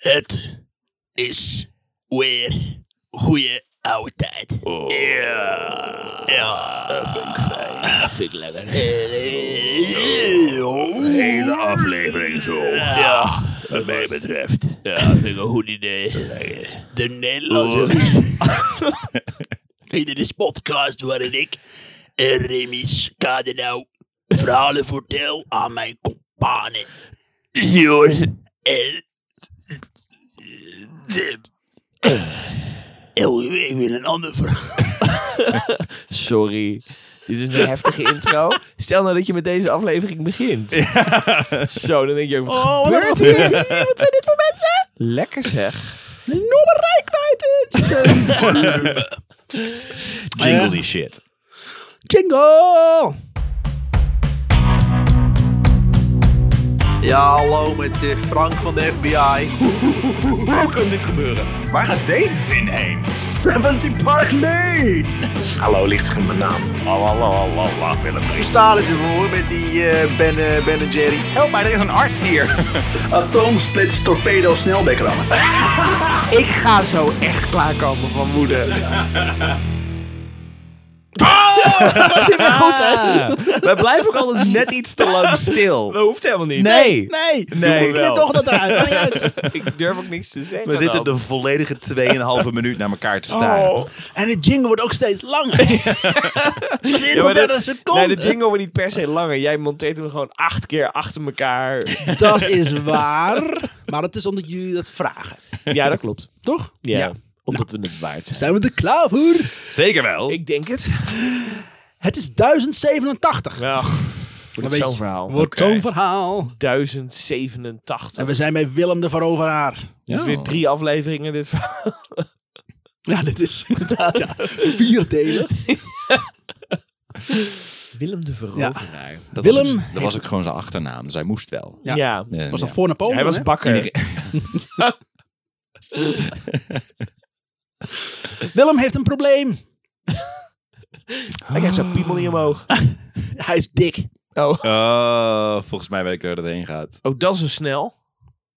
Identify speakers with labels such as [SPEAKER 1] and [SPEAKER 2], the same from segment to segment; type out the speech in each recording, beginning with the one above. [SPEAKER 1] Het is weer goede oude tijd.
[SPEAKER 2] Oh,
[SPEAKER 1] Ja. Ja.
[SPEAKER 2] dat vind ik fijn. Dat vind ik lekker.
[SPEAKER 1] Hele
[SPEAKER 2] Hele aflevering zo.
[SPEAKER 1] Ja.
[SPEAKER 2] Wat mij betreft.
[SPEAKER 1] Ja, dat vind ik een goed idee. De Nederlandse... Dit is podcast waarin ik, eh, Remis Kadenau, verhalen vertel aan mijn companen. Jors. En... Tim. Elke week weer een ander verhaal.
[SPEAKER 3] Sorry. Dit is een heftige intro. Stel nou dat je met deze aflevering begint. Zo, dan denk je ook, wat
[SPEAKER 1] Oh,
[SPEAKER 3] gebeurt hier? Oh, Wat zijn dit voor mensen? Lekker zeg. Noem rijkbuiten.
[SPEAKER 2] Jingle die shit.
[SPEAKER 3] Jingle!
[SPEAKER 4] Ja, hallo met eh, Frank van de FBI. Hoe kan dit gebeuren? Waar gaat deze zin heen? 70 Park Lane! Hallo, licht in mijn naam. Lalalala, Willem. Ik sta ervoor met die eh ben, eh, ben en Jerry. Help mij, er is een arts hier. Atoomsplits, torpedo, sneldekramme.
[SPEAKER 3] Ik ga zo echt klaarkomen van moeder. goed, hè? Ah. We blijven ook altijd net iets te lang stil. Dat hoeft helemaal niet. Nee.
[SPEAKER 1] Nee,
[SPEAKER 3] Nee.
[SPEAKER 1] knip toch dat eruit. Maakt niet uit.
[SPEAKER 3] Ik durf ook niks te zeggen.
[SPEAKER 2] We zitten
[SPEAKER 3] dan.
[SPEAKER 2] de volledige 2,5 minuut naar elkaar te staren.
[SPEAKER 1] En de jingle wordt ook steeds langer. Het was
[SPEAKER 3] Ja, maar
[SPEAKER 1] 31
[SPEAKER 3] dat-
[SPEAKER 1] seconden.
[SPEAKER 3] Nee, de jingle wordt niet per se langer. Jij monteert hem gewoon acht keer achter elkaar.
[SPEAKER 1] Dat is waar. Maar dat is omdat jullie dat vragen.
[SPEAKER 3] ja, dat klopt.
[SPEAKER 1] Toch?
[SPEAKER 3] Ja, omdat we het waard zijn.
[SPEAKER 1] Zijn we er klaar voor?
[SPEAKER 2] Zeker wel.
[SPEAKER 3] Ik denk het.
[SPEAKER 1] Het is 1087.
[SPEAKER 3] Ja, wordt
[SPEAKER 1] weet
[SPEAKER 3] zo'n
[SPEAKER 1] je-
[SPEAKER 3] verhaal.
[SPEAKER 1] Wordt
[SPEAKER 2] Oké.
[SPEAKER 1] zo'n verhaal.
[SPEAKER 3] 1087.
[SPEAKER 1] En we zijn bij Willem de Veroveraar.
[SPEAKER 3] Het is Dus weer drie afleveringen dit verhaal.
[SPEAKER 1] Ja, dit is inderdaad ja, vier delen.
[SPEAKER 3] Willem de Veroveraar. Ja,
[SPEAKER 2] Dat
[SPEAKER 1] Willem
[SPEAKER 2] was ook-
[SPEAKER 1] heeft-
[SPEAKER 2] dat was ook gewoon zijn achternaam. Dus hij moest wel.
[SPEAKER 1] Ja. Was dat voor Napoleon?
[SPEAKER 3] hij was
[SPEAKER 1] hè?
[SPEAKER 3] bakker.
[SPEAKER 1] Willem heeft een probleem.
[SPEAKER 3] Hij krijgt zo'n piemel niet omhoog.
[SPEAKER 1] Hij is dik.
[SPEAKER 3] Oh.
[SPEAKER 2] Oh, volgens mij weet ik waar dat heen gaat.
[SPEAKER 3] oh, dat zo snel.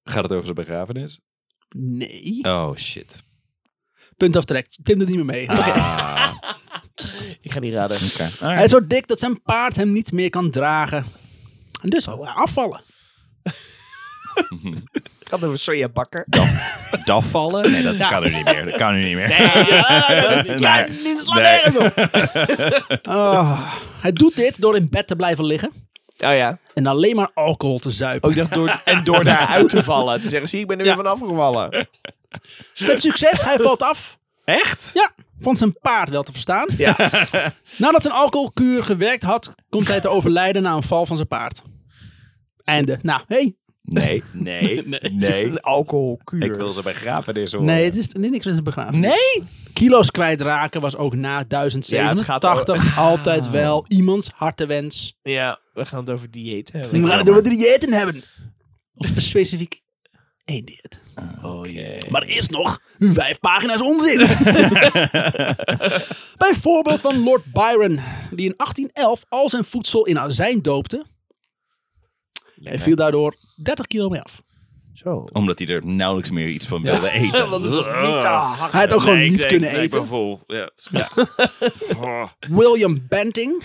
[SPEAKER 2] Gaat het over de begrafenis?
[SPEAKER 1] Nee.
[SPEAKER 2] Oh, shit.
[SPEAKER 1] Punt aftrek. Tim doet niet meer mee. Oké.
[SPEAKER 2] Ah,
[SPEAKER 3] Ik ga niet raden.
[SPEAKER 2] oké.
[SPEAKER 1] Hij is zo dik dat zijn paard hem niet meer kan dragen. En dus wil hij afvallen.
[SPEAKER 3] Ik had over soja bakker.
[SPEAKER 2] Dat vallen? Nee, dat kan nu niet meer. Dat kan nu niet meer.
[SPEAKER 1] Ja, dit slaat nergens op. Ah, hij doet dit door in bed te blijven liggen
[SPEAKER 3] Oh ja.
[SPEAKER 1] en alleen maar alcohol te zuipen.
[SPEAKER 3] Oh, ik dacht door, en door daaruit te vallen. Te zeggen, zie, ik ben er weer
[SPEAKER 1] Ja.
[SPEAKER 3] vanaf gevallen.
[SPEAKER 1] Met succes, hij valt af.
[SPEAKER 3] Echt?
[SPEAKER 1] Ja, vond zijn paard wel te verstaan.
[SPEAKER 3] Ja.
[SPEAKER 1] Nadat zijn alcoholkuur gewerkt had, komt hij te overlijden na een val van zijn paard. Einde. Nou, hey.
[SPEAKER 2] Nee, nee, nee.
[SPEAKER 3] Een alcoholkuur.
[SPEAKER 2] Ik wil ze begrafenis horen.
[SPEAKER 1] Nee, het is nee, niks met zijn begrafenis. Nee? Kilo's kwijtraken was ook na
[SPEAKER 3] Ja, het gaat
[SPEAKER 1] 1087 altijd wel iemands hartewens.
[SPEAKER 3] Ja, we gaan het over dieet
[SPEAKER 1] We
[SPEAKER 3] hebben.
[SPEAKER 1] gaan door drie diëten hebben. Of specifiek één dieet.
[SPEAKER 2] Oh, jee.
[SPEAKER 1] Maar eerst nog vijf pagina's onzin. Bijvoorbeeld van Lord Byron, die in 1811 al zijn voedsel in azijn doopte. Hij viel daardoor 30 kilo mee af.
[SPEAKER 3] Zo.
[SPEAKER 2] Omdat hij er nauwelijks meer iets van wilde eten.
[SPEAKER 3] Want het was niet te hard.
[SPEAKER 1] Hij had ook gewoon niet kunnen
[SPEAKER 2] Ik ben
[SPEAKER 1] eten.
[SPEAKER 2] vol. Ja, is goed.
[SPEAKER 1] William Benting,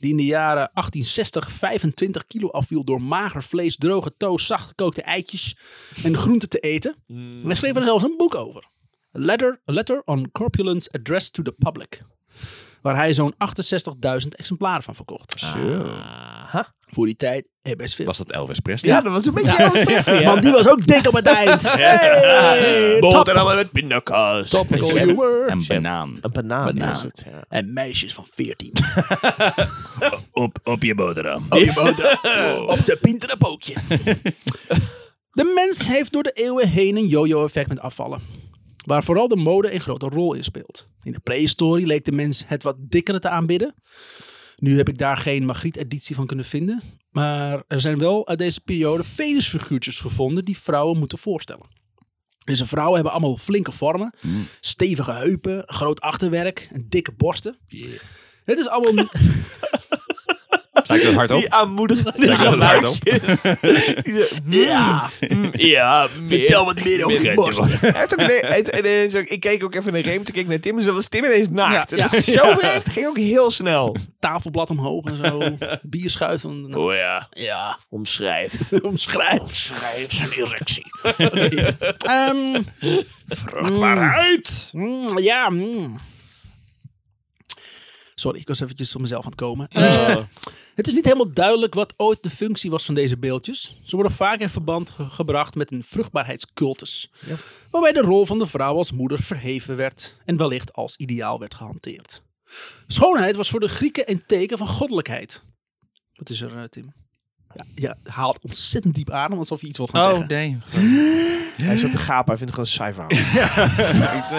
[SPEAKER 1] die in de jaren 1860 25 kilo afviel door mager vlees, droge toast, zachtgekookte eitjes en groenten te eten. En Hij schreef er zelfs een boek over. A letter, a letter on Corpulence Addressed to the Public. Waar hij zo'n 68.000 exemplaren van verkocht. Voor die tijd eh, best veel.
[SPEAKER 2] Ah. Was dat Elvis Presley?
[SPEAKER 3] Ja, dat was een beetje Elvis Presley.
[SPEAKER 1] Want die was ook dik op het eind. Hey, top,
[SPEAKER 3] Boterhammen met pindakaas.
[SPEAKER 1] topical humor.
[SPEAKER 2] Een banaan.
[SPEAKER 3] Een banaan,
[SPEAKER 1] Banaan.
[SPEAKER 3] is het. Ja.
[SPEAKER 1] En meisjes van 14.
[SPEAKER 2] Op, op je boterham.
[SPEAKER 1] Op je boter. Op zijn pinterpookje. De mens heeft door de eeuwen heen een yo-yo-effect met afvallen. Waar vooral de mode een grote rol in speelt. In de prehistorie leek de mens het wat dikkere te aanbidden. Nu heb ik daar geen Magritte-editie van kunnen vinden. Maar er zijn wel uit deze periode venusfiguurtjes gevonden die vrouwen moeten voorstellen. Deze vrouwen hebben allemaal flinke vormen, stevige heupen, groot achterwerk en dikke borsten. Het is allemaal.
[SPEAKER 2] Lijkt het hard
[SPEAKER 3] Die
[SPEAKER 2] op?
[SPEAKER 3] aanmoedigende
[SPEAKER 2] Lijkt wel hard op.
[SPEAKER 3] geluidjes. Die zo,
[SPEAKER 1] Ja,
[SPEAKER 3] mm, ja,
[SPEAKER 1] vertel wat meer over
[SPEAKER 2] Meer-
[SPEAKER 1] je borst.
[SPEAKER 3] Hij heeft ook nee, het- en ineens ook- ik keek ook even naar Reem, toen keek ik naar Tim en zo was Tim ineens naakt.
[SPEAKER 1] Ja,
[SPEAKER 3] Het
[SPEAKER 1] ja.
[SPEAKER 3] is zo vreemd, het ging ook heel snel.
[SPEAKER 1] Tafelblad omhoog en zo. Bierschuif van de nacht.
[SPEAKER 2] Oh
[SPEAKER 3] ja,
[SPEAKER 1] Ja,
[SPEAKER 3] omschrijf.
[SPEAKER 1] omschrijf.
[SPEAKER 3] Omschrijf.
[SPEAKER 1] Een erectie. Ehm,
[SPEAKER 2] Uit!
[SPEAKER 1] mm, ja. mm. Sorry, ik was eventjes op mezelf aan het komen. Eh, het is niet helemaal duidelijk wat ooit de functie was van deze beeldjes. Ze worden vaak in verband ge- gebracht met een vruchtbaarheidscultus. Waarbij de rol van de vrouw als moeder verheven werd en wellicht als ideaal werd gehanteerd. Schoonheid was voor de Grieken een teken van goddelijkheid. Wat is er, eh, Tim? Ja, je haalt ontzettend diep adem alsof je iets wil gaan
[SPEAKER 2] Oh,
[SPEAKER 1] zeggen.
[SPEAKER 2] nee.
[SPEAKER 3] Hij zat te gapen, hij vindt het gewoon een saai verhaal.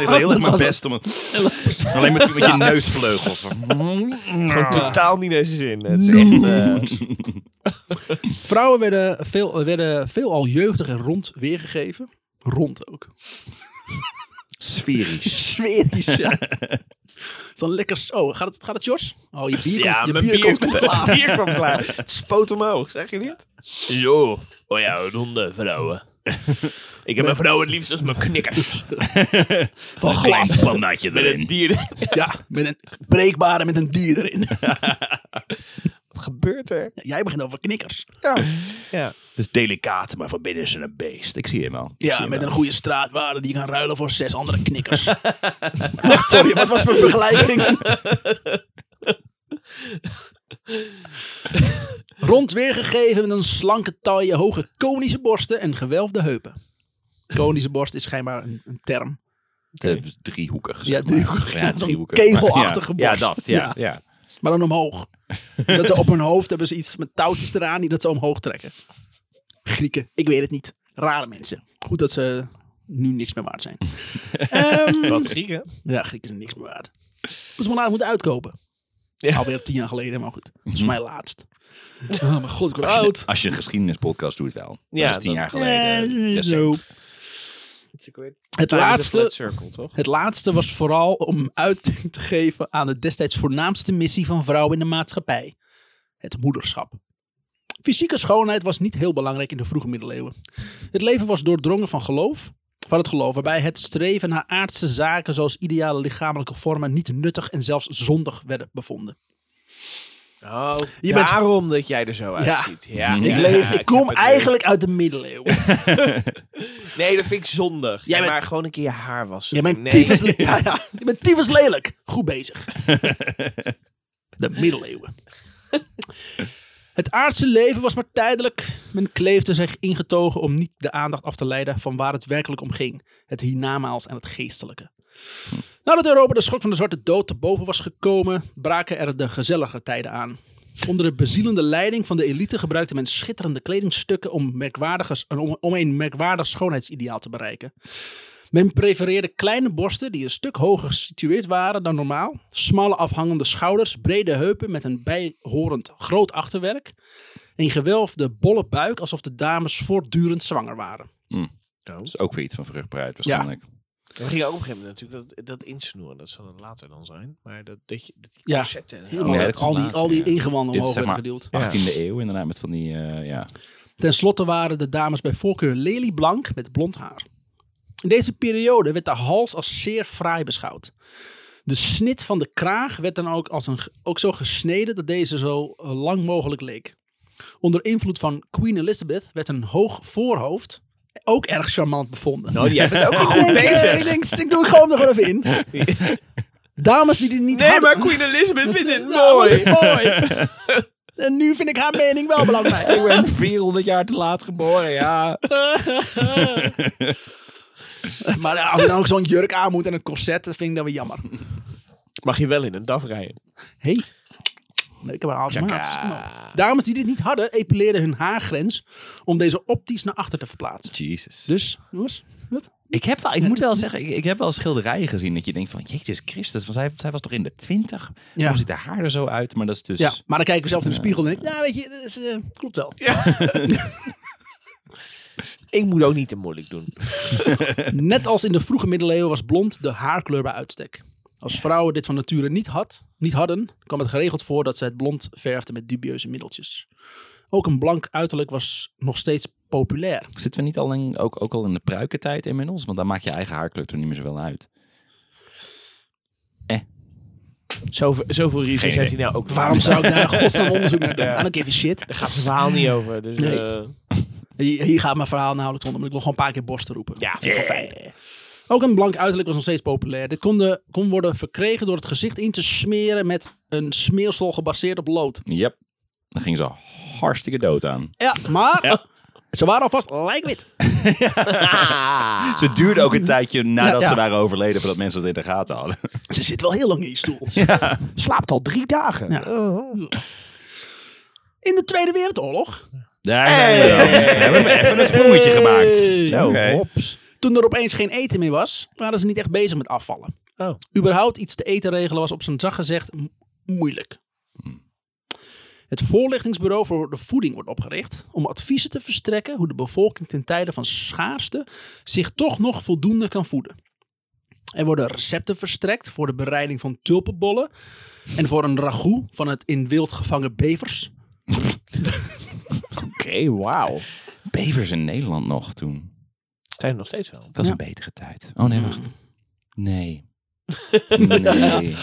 [SPEAKER 2] Ik deed heel erg mijn best om het... Alleen met, met je neusvleugels.
[SPEAKER 3] Gewoon totaal niet naar zijn zin. Het is echt... eh,
[SPEAKER 1] Vrouwen werden, veel, werden veelal jeugdig en rond weergegeven. Rond ook.
[SPEAKER 2] Sferisch.
[SPEAKER 1] Sferisch, ja. Zo'n lekker zo. Gaat het, gaat het Jos? Oh, je bier
[SPEAKER 3] ja,
[SPEAKER 1] komt, je
[SPEAKER 3] mijn bier,
[SPEAKER 1] komt
[SPEAKER 3] kwam
[SPEAKER 1] goed klaar.
[SPEAKER 3] klaar. bier kwam klaar. Het spoot omhoog, zeg je niet? Zo. Oh ja, ronde vrouwen. Ik heb mijn vrouw het liefst als mijn knikkers.
[SPEAKER 1] Van glas.
[SPEAKER 2] Pandatje
[SPEAKER 3] Met een
[SPEAKER 2] erin.
[SPEAKER 3] dier.
[SPEAKER 1] Ja, met een breekbare met een dier erin.
[SPEAKER 3] Wat gebeurt er?
[SPEAKER 1] Jij begint over knikkers.
[SPEAKER 3] Ja. ja.
[SPEAKER 2] Het is delicaat, maar van binnen is het een beest. Ik zie hem al. Ik zie
[SPEAKER 1] Ja,
[SPEAKER 2] hem
[SPEAKER 1] met
[SPEAKER 2] al.
[SPEAKER 1] een goede straatwaarde die gaan ruilen voor zes andere knikkers. Wacht, sorry, wat was mijn vergelijking? Rond weergegeven met een slanke taille, hoge konische borsten en gewelfde heupen. Konische borst is schijnbaar een, een term.
[SPEAKER 2] Eh, driehoekig. zeg
[SPEAKER 1] Ja,
[SPEAKER 2] maar.
[SPEAKER 1] driehoekig.
[SPEAKER 2] Ja,
[SPEAKER 1] Zo'n
[SPEAKER 2] driehoekig.
[SPEAKER 1] kegelachtige
[SPEAKER 2] Ja,
[SPEAKER 1] borst.
[SPEAKER 2] Ja, dat. Ja,
[SPEAKER 1] Ja.
[SPEAKER 2] ja.
[SPEAKER 1] Maar dan omhoog. Dus dat ze op hun hoofd hebben ze iets met touwtjes eraan die dat ze omhoog trekken. Grieken, ik weet het niet. Rare mensen. Goed dat ze nu niks meer waard zijn. Ehm,
[SPEAKER 3] Grieken.
[SPEAKER 1] ja, Grieken zijn niks meer waard. Moeten ze maar moeten uitkopen.
[SPEAKER 3] Ja.
[SPEAKER 1] Alweer tien jaar geleden, maar goed. Dat is mijn laatst. Mhm. Oh mijn god, ik word oud.
[SPEAKER 2] Als je een geschiedenispodcast doet wel.
[SPEAKER 3] Ja,
[SPEAKER 2] Ja, dat is tien
[SPEAKER 3] dat-
[SPEAKER 2] jaar
[SPEAKER 1] Ja,
[SPEAKER 2] geleden. eh,
[SPEAKER 1] zo.
[SPEAKER 2] recent.
[SPEAKER 1] Het laatste,
[SPEAKER 3] circle, toch?
[SPEAKER 1] het laatste was vooral om uiting te geven aan de destijds voornaamste missie van vrouwen in de maatschappij: het moederschap. Fysieke schoonheid was niet heel belangrijk in de vroege middeleeuwen. Het leven was doordrongen van geloof, van het geloof, waarbij het streven naar aardse zaken zoals ideale lichamelijke vormen niet nuttig en zelfs zondig werden bevonden.
[SPEAKER 3] Oh,
[SPEAKER 1] Je bent- Mhm.
[SPEAKER 3] daarom dat jij er zo uitziet. Ja.
[SPEAKER 2] Ik
[SPEAKER 1] ik
[SPEAKER 3] Ja,
[SPEAKER 1] leef, ik
[SPEAKER 3] heb
[SPEAKER 1] kom
[SPEAKER 3] het
[SPEAKER 1] eigenlijk uit de middeleeuwen.
[SPEAKER 3] door. Nee, dat vind ik zondig.
[SPEAKER 1] Jij
[SPEAKER 3] Ja,
[SPEAKER 1] bent-
[SPEAKER 3] Maar gewoon een keer je haar wassen.
[SPEAKER 1] Je bent
[SPEAKER 3] nee.
[SPEAKER 1] tyfus, le- ja, ja, je bent tyfus lelijk. Goed bezig. De middeleeuwen. Het aardse leven was maar tijdelijk. Men kleefde zich ingetogen om niet de aandacht af te leiden van waar het werkelijk om ging. Het hiernamaals en het geestelijke. Nadat Europa de schok van de Zwarte Dood te boven was gekomen, braken er de gezellige tijden aan. Onder de bezielende leiding van de elite gebruikte men schitterende kledingstukken om, merkwaardiges- om, om een merkwaardig schoonheidsideaal te bereiken. Men prefereerde kleine borsten die een stuk hoger gesitueerd waren dan normaal, smalle afhangende schouders, brede heupen met een bijhorend groot achterwerk, een gewelfde bolle buik alsof de dames voortdurend zwanger waren.
[SPEAKER 2] Dat is ook weer iets van vruchtbaarheid waarschijnlijk.
[SPEAKER 3] We gingen ook op een gegeven moment natuurlijk dat, dat insnoeren. Dat zal dan later dan zijn. Maar dat, dat, je, dat die
[SPEAKER 1] Ja.
[SPEAKER 3] corsetten en
[SPEAKER 1] Helemaal
[SPEAKER 2] Oh,
[SPEAKER 1] met
[SPEAKER 2] dat is
[SPEAKER 1] al die,
[SPEAKER 2] later,
[SPEAKER 1] al die
[SPEAKER 2] ja.
[SPEAKER 1] ingewanden
[SPEAKER 2] Dit is
[SPEAKER 1] omhoog
[SPEAKER 2] zeg
[SPEAKER 1] werden
[SPEAKER 2] maar
[SPEAKER 1] geduwd.
[SPEAKER 2] 18e eeuw inderdaad, met van die, eh, ja.
[SPEAKER 1] Ten slotte waren de dames bij voorkeur lelieblank met blond haar. In deze periode werd de hals als zeer fraai beschouwd. De snit van de kraag werd dan ook, als een, ook zo gesneden dat deze zo eh, lang mogelijk leek. Onder invloed van Queen Elizabeth werd een hoog voorhoofd ook erg charmant bevonden.
[SPEAKER 3] Oh, jij bent ook
[SPEAKER 1] ik,
[SPEAKER 3] goed
[SPEAKER 1] denk, eh,
[SPEAKER 3] bezig.
[SPEAKER 1] ik denk, ik doe het gewoon er gewoon even in. Dames die dit niet
[SPEAKER 3] Nee,
[SPEAKER 1] hadden-
[SPEAKER 3] maar Queen Elizabeth vindt het
[SPEAKER 1] Ja, maar
[SPEAKER 3] mooi.
[SPEAKER 1] dit is mooi. En nu vind ik haar mening wel belangrijk.
[SPEAKER 3] Ik ben 400 jaar te laat geboren, ja.
[SPEAKER 1] Maar ja, als je dan ook zo'n jurk aan moet en een corset, dat vind ik dan weer jammer.
[SPEAKER 3] Mag je wel in een DAF rijden?
[SPEAKER 1] Hé, hey. ik heb een halve Dames die dit niet hadden, epileerden hun haargrens om deze optisch naar achter te verplaatsen.
[SPEAKER 2] Jezus.
[SPEAKER 1] Dus, jongens, wat?
[SPEAKER 2] Ik, heb wel, ik moet wel zeggen, ik, ik heb wel schilderijen gezien dat je denkt van, jezus Christus, want zij, zij was toch in de twintig? Waarom ziet haar haar er zo uit? Maar dat is dus...
[SPEAKER 1] Ja, maar dan kijk ik mezelf in de spiegel en denk ik, ja, weet je, dat is, eh, klopt wel.
[SPEAKER 3] Ik moet ook niet te moeilijk doen.
[SPEAKER 1] Net als in de vroege middeleeuwen was blond de haarkleur bij uitstek. Als vrouwen dit van nature niet, had, niet hadden, kwam het geregeld voor dat ze het blond verfden met dubieuze middeltjes. Ook een blank uiterlijk was nog steeds populair.
[SPEAKER 2] Zitten we niet al in, ook, ook al in de pruikentijd inmiddels? Want dan maakt je eigen haarkleur er niet meer zoveel uit.
[SPEAKER 3] Zoveel, zoveel research
[SPEAKER 2] Geen
[SPEAKER 3] heeft hij nou ook.
[SPEAKER 1] Waarom zou ik daar in godsnaam onderzoek naar doen?
[SPEAKER 3] Ja.
[SPEAKER 1] I don't give a shit.
[SPEAKER 3] Daar gaat zijn verhaal niet over. Dus,
[SPEAKER 1] Nee.
[SPEAKER 3] eh,
[SPEAKER 1] Hier, hier gaat mijn verhaal nauwelijks onder, maar ik wil gewoon een paar keer borsten roepen.
[SPEAKER 3] ja,
[SPEAKER 1] Vind ik wel fijn. Ook een blank uiterlijk was nog steeds populair. Dit kon, de- kon worden verkregen door het gezicht in te smeren met een smeersel gebaseerd op lood.
[SPEAKER 2] Yep. Dan ging ze hartstikke dood aan.
[SPEAKER 1] Ja, maar
[SPEAKER 2] Ja.
[SPEAKER 1] ze waren alvast lijkwit.
[SPEAKER 2] Ze duurde ook een tijdje nadat
[SPEAKER 1] ja.
[SPEAKER 2] ze waren overleden voordat mensen het in de gaten hadden.
[SPEAKER 1] Ze zit wel heel lang in je stoel.
[SPEAKER 3] Slaapt al drie dagen.
[SPEAKER 1] Ja. In de Tweede Wereldoorlog,
[SPEAKER 2] Daar zijn we. dan. We hebben even een sprongetje gemaakt.
[SPEAKER 3] Zo,
[SPEAKER 2] Oké.
[SPEAKER 3] hops.
[SPEAKER 1] toen er opeens geen eten meer was, waren ze niet echt bezig met afvallen.
[SPEAKER 3] Oh.
[SPEAKER 1] Überhaupt iets te eten regelen was op zijn zacht gezegd mo- moeilijk.
[SPEAKER 3] Hmm.
[SPEAKER 1] Het voorlichtingsbureau voor de voeding wordt opgericht om adviezen te verstrekken hoe de bevolking ten tijde van schaarste zich toch nog voldoende kan voeden. Er worden recepten verstrekt voor de bereiding van tulpenbollen en voor een ragout van het in wild gevangen bevers.
[SPEAKER 3] Oké, wauw.
[SPEAKER 2] Bevers in Nederland nog toen.
[SPEAKER 3] Zijn er nog steeds wel.
[SPEAKER 2] Dat was
[SPEAKER 1] Ja.
[SPEAKER 2] een betere tijd. Oh nee, wacht. Nee. Nee.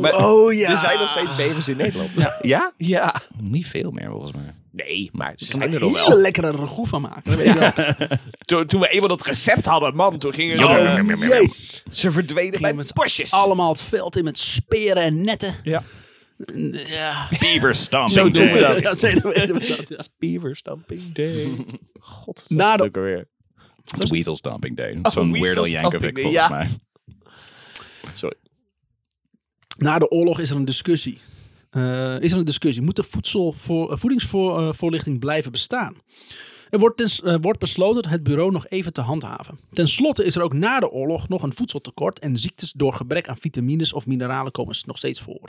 [SPEAKER 3] Maar
[SPEAKER 1] oh ja.
[SPEAKER 3] Er zijn nog steeds bevers in Nederland.
[SPEAKER 2] Ja?
[SPEAKER 3] Ja.
[SPEAKER 2] Niet veel meer volgens mij.
[SPEAKER 3] Nee, maar ze
[SPEAKER 1] Ik
[SPEAKER 3] zijn
[SPEAKER 1] kan
[SPEAKER 3] er
[SPEAKER 1] er
[SPEAKER 3] nog
[SPEAKER 1] een hele
[SPEAKER 3] wel.
[SPEAKER 1] lekkere ragout van maken. Weet je wel.
[SPEAKER 3] Toen, toen we eenmaal dat recept hadden, man, toen gingen ze-
[SPEAKER 1] Oh, jezus.
[SPEAKER 3] ze verdwenen bij
[SPEAKER 1] Gingen we z'n
[SPEAKER 3] bosjes.
[SPEAKER 1] Allemaal het veld in met speren en netten.
[SPEAKER 3] Ja.
[SPEAKER 1] Ja.
[SPEAKER 2] Beaver stomping.
[SPEAKER 3] Zo doen we dat.
[SPEAKER 1] Dat zijn we dat, ja.
[SPEAKER 3] Beaver Stamping Day. God, dat
[SPEAKER 1] Na
[SPEAKER 3] is
[SPEAKER 1] de-
[SPEAKER 3] ook alweer.
[SPEAKER 2] De Weasel Stomping Day. Zo'n
[SPEAKER 3] Weasel
[SPEAKER 2] Weird Al
[SPEAKER 3] Stomping
[SPEAKER 2] Yankovic
[SPEAKER 3] Day,
[SPEAKER 2] volgens
[SPEAKER 3] ja.
[SPEAKER 2] mij.
[SPEAKER 3] Sorry.
[SPEAKER 1] Na de oorlog is er een discussie. Eh, is er een discussie. Moet de voedsel voor, eh, voedingsvoorlichting blijven bestaan? Er wordt, tens- eh, wordt besloten het bureau nog even te handhaven. Ten slotte is er ook na de oorlog nog een voedseltekort en ziektes door gebrek aan vitamines of mineralen komen s- nog steeds voor.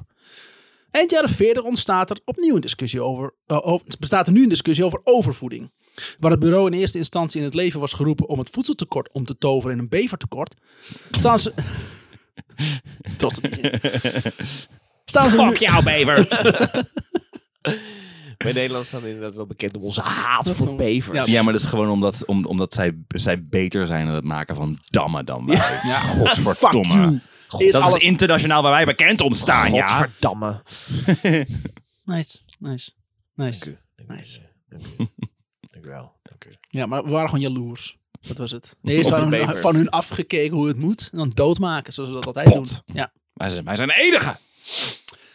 [SPEAKER 1] Eind jaren 40 ontstaat er opnieuw een discussie over, eh, over- bestaat er nu een discussie over overvoeding. Waar het bureau in eerste instantie in het leven was geroepen om het voedseltekort om te toveren in een bevertekort, staan ze. Tot Staan ze nu,
[SPEAKER 2] jou, Beaver.
[SPEAKER 3] Bij Nederland staan inderdaad wel bekend om onze haat voor
[SPEAKER 1] zo'n-
[SPEAKER 3] bevers.
[SPEAKER 1] Ja.
[SPEAKER 2] Ja, maar dat is gewoon omdat, om, omdat zij, zij beter zijn aan het maken van dammen dan wij.
[SPEAKER 1] Ja.
[SPEAKER 2] Godverdomme.
[SPEAKER 1] Fuck you. Is
[SPEAKER 2] dat
[SPEAKER 1] alles-
[SPEAKER 2] is internationaal waar wij bekend om staan, ja.
[SPEAKER 3] Godverdamme.
[SPEAKER 1] Nice, nice, nice. Nice.
[SPEAKER 3] Dank u wel. Dank u.
[SPEAKER 1] Ja, maar we waren gewoon jaloers. Dat was het. Nee, Eerst
[SPEAKER 3] Op de
[SPEAKER 1] waren we
[SPEAKER 3] bever.
[SPEAKER 1] van hun afgekeken hoe het moet. En dan doodmaken, zoals we dat altijd
[SPEAKER 2] Pot.
[SPEAKER 1] doen. Ja.
[SPEAKER 2] Wij zijn, wij zijn de enige.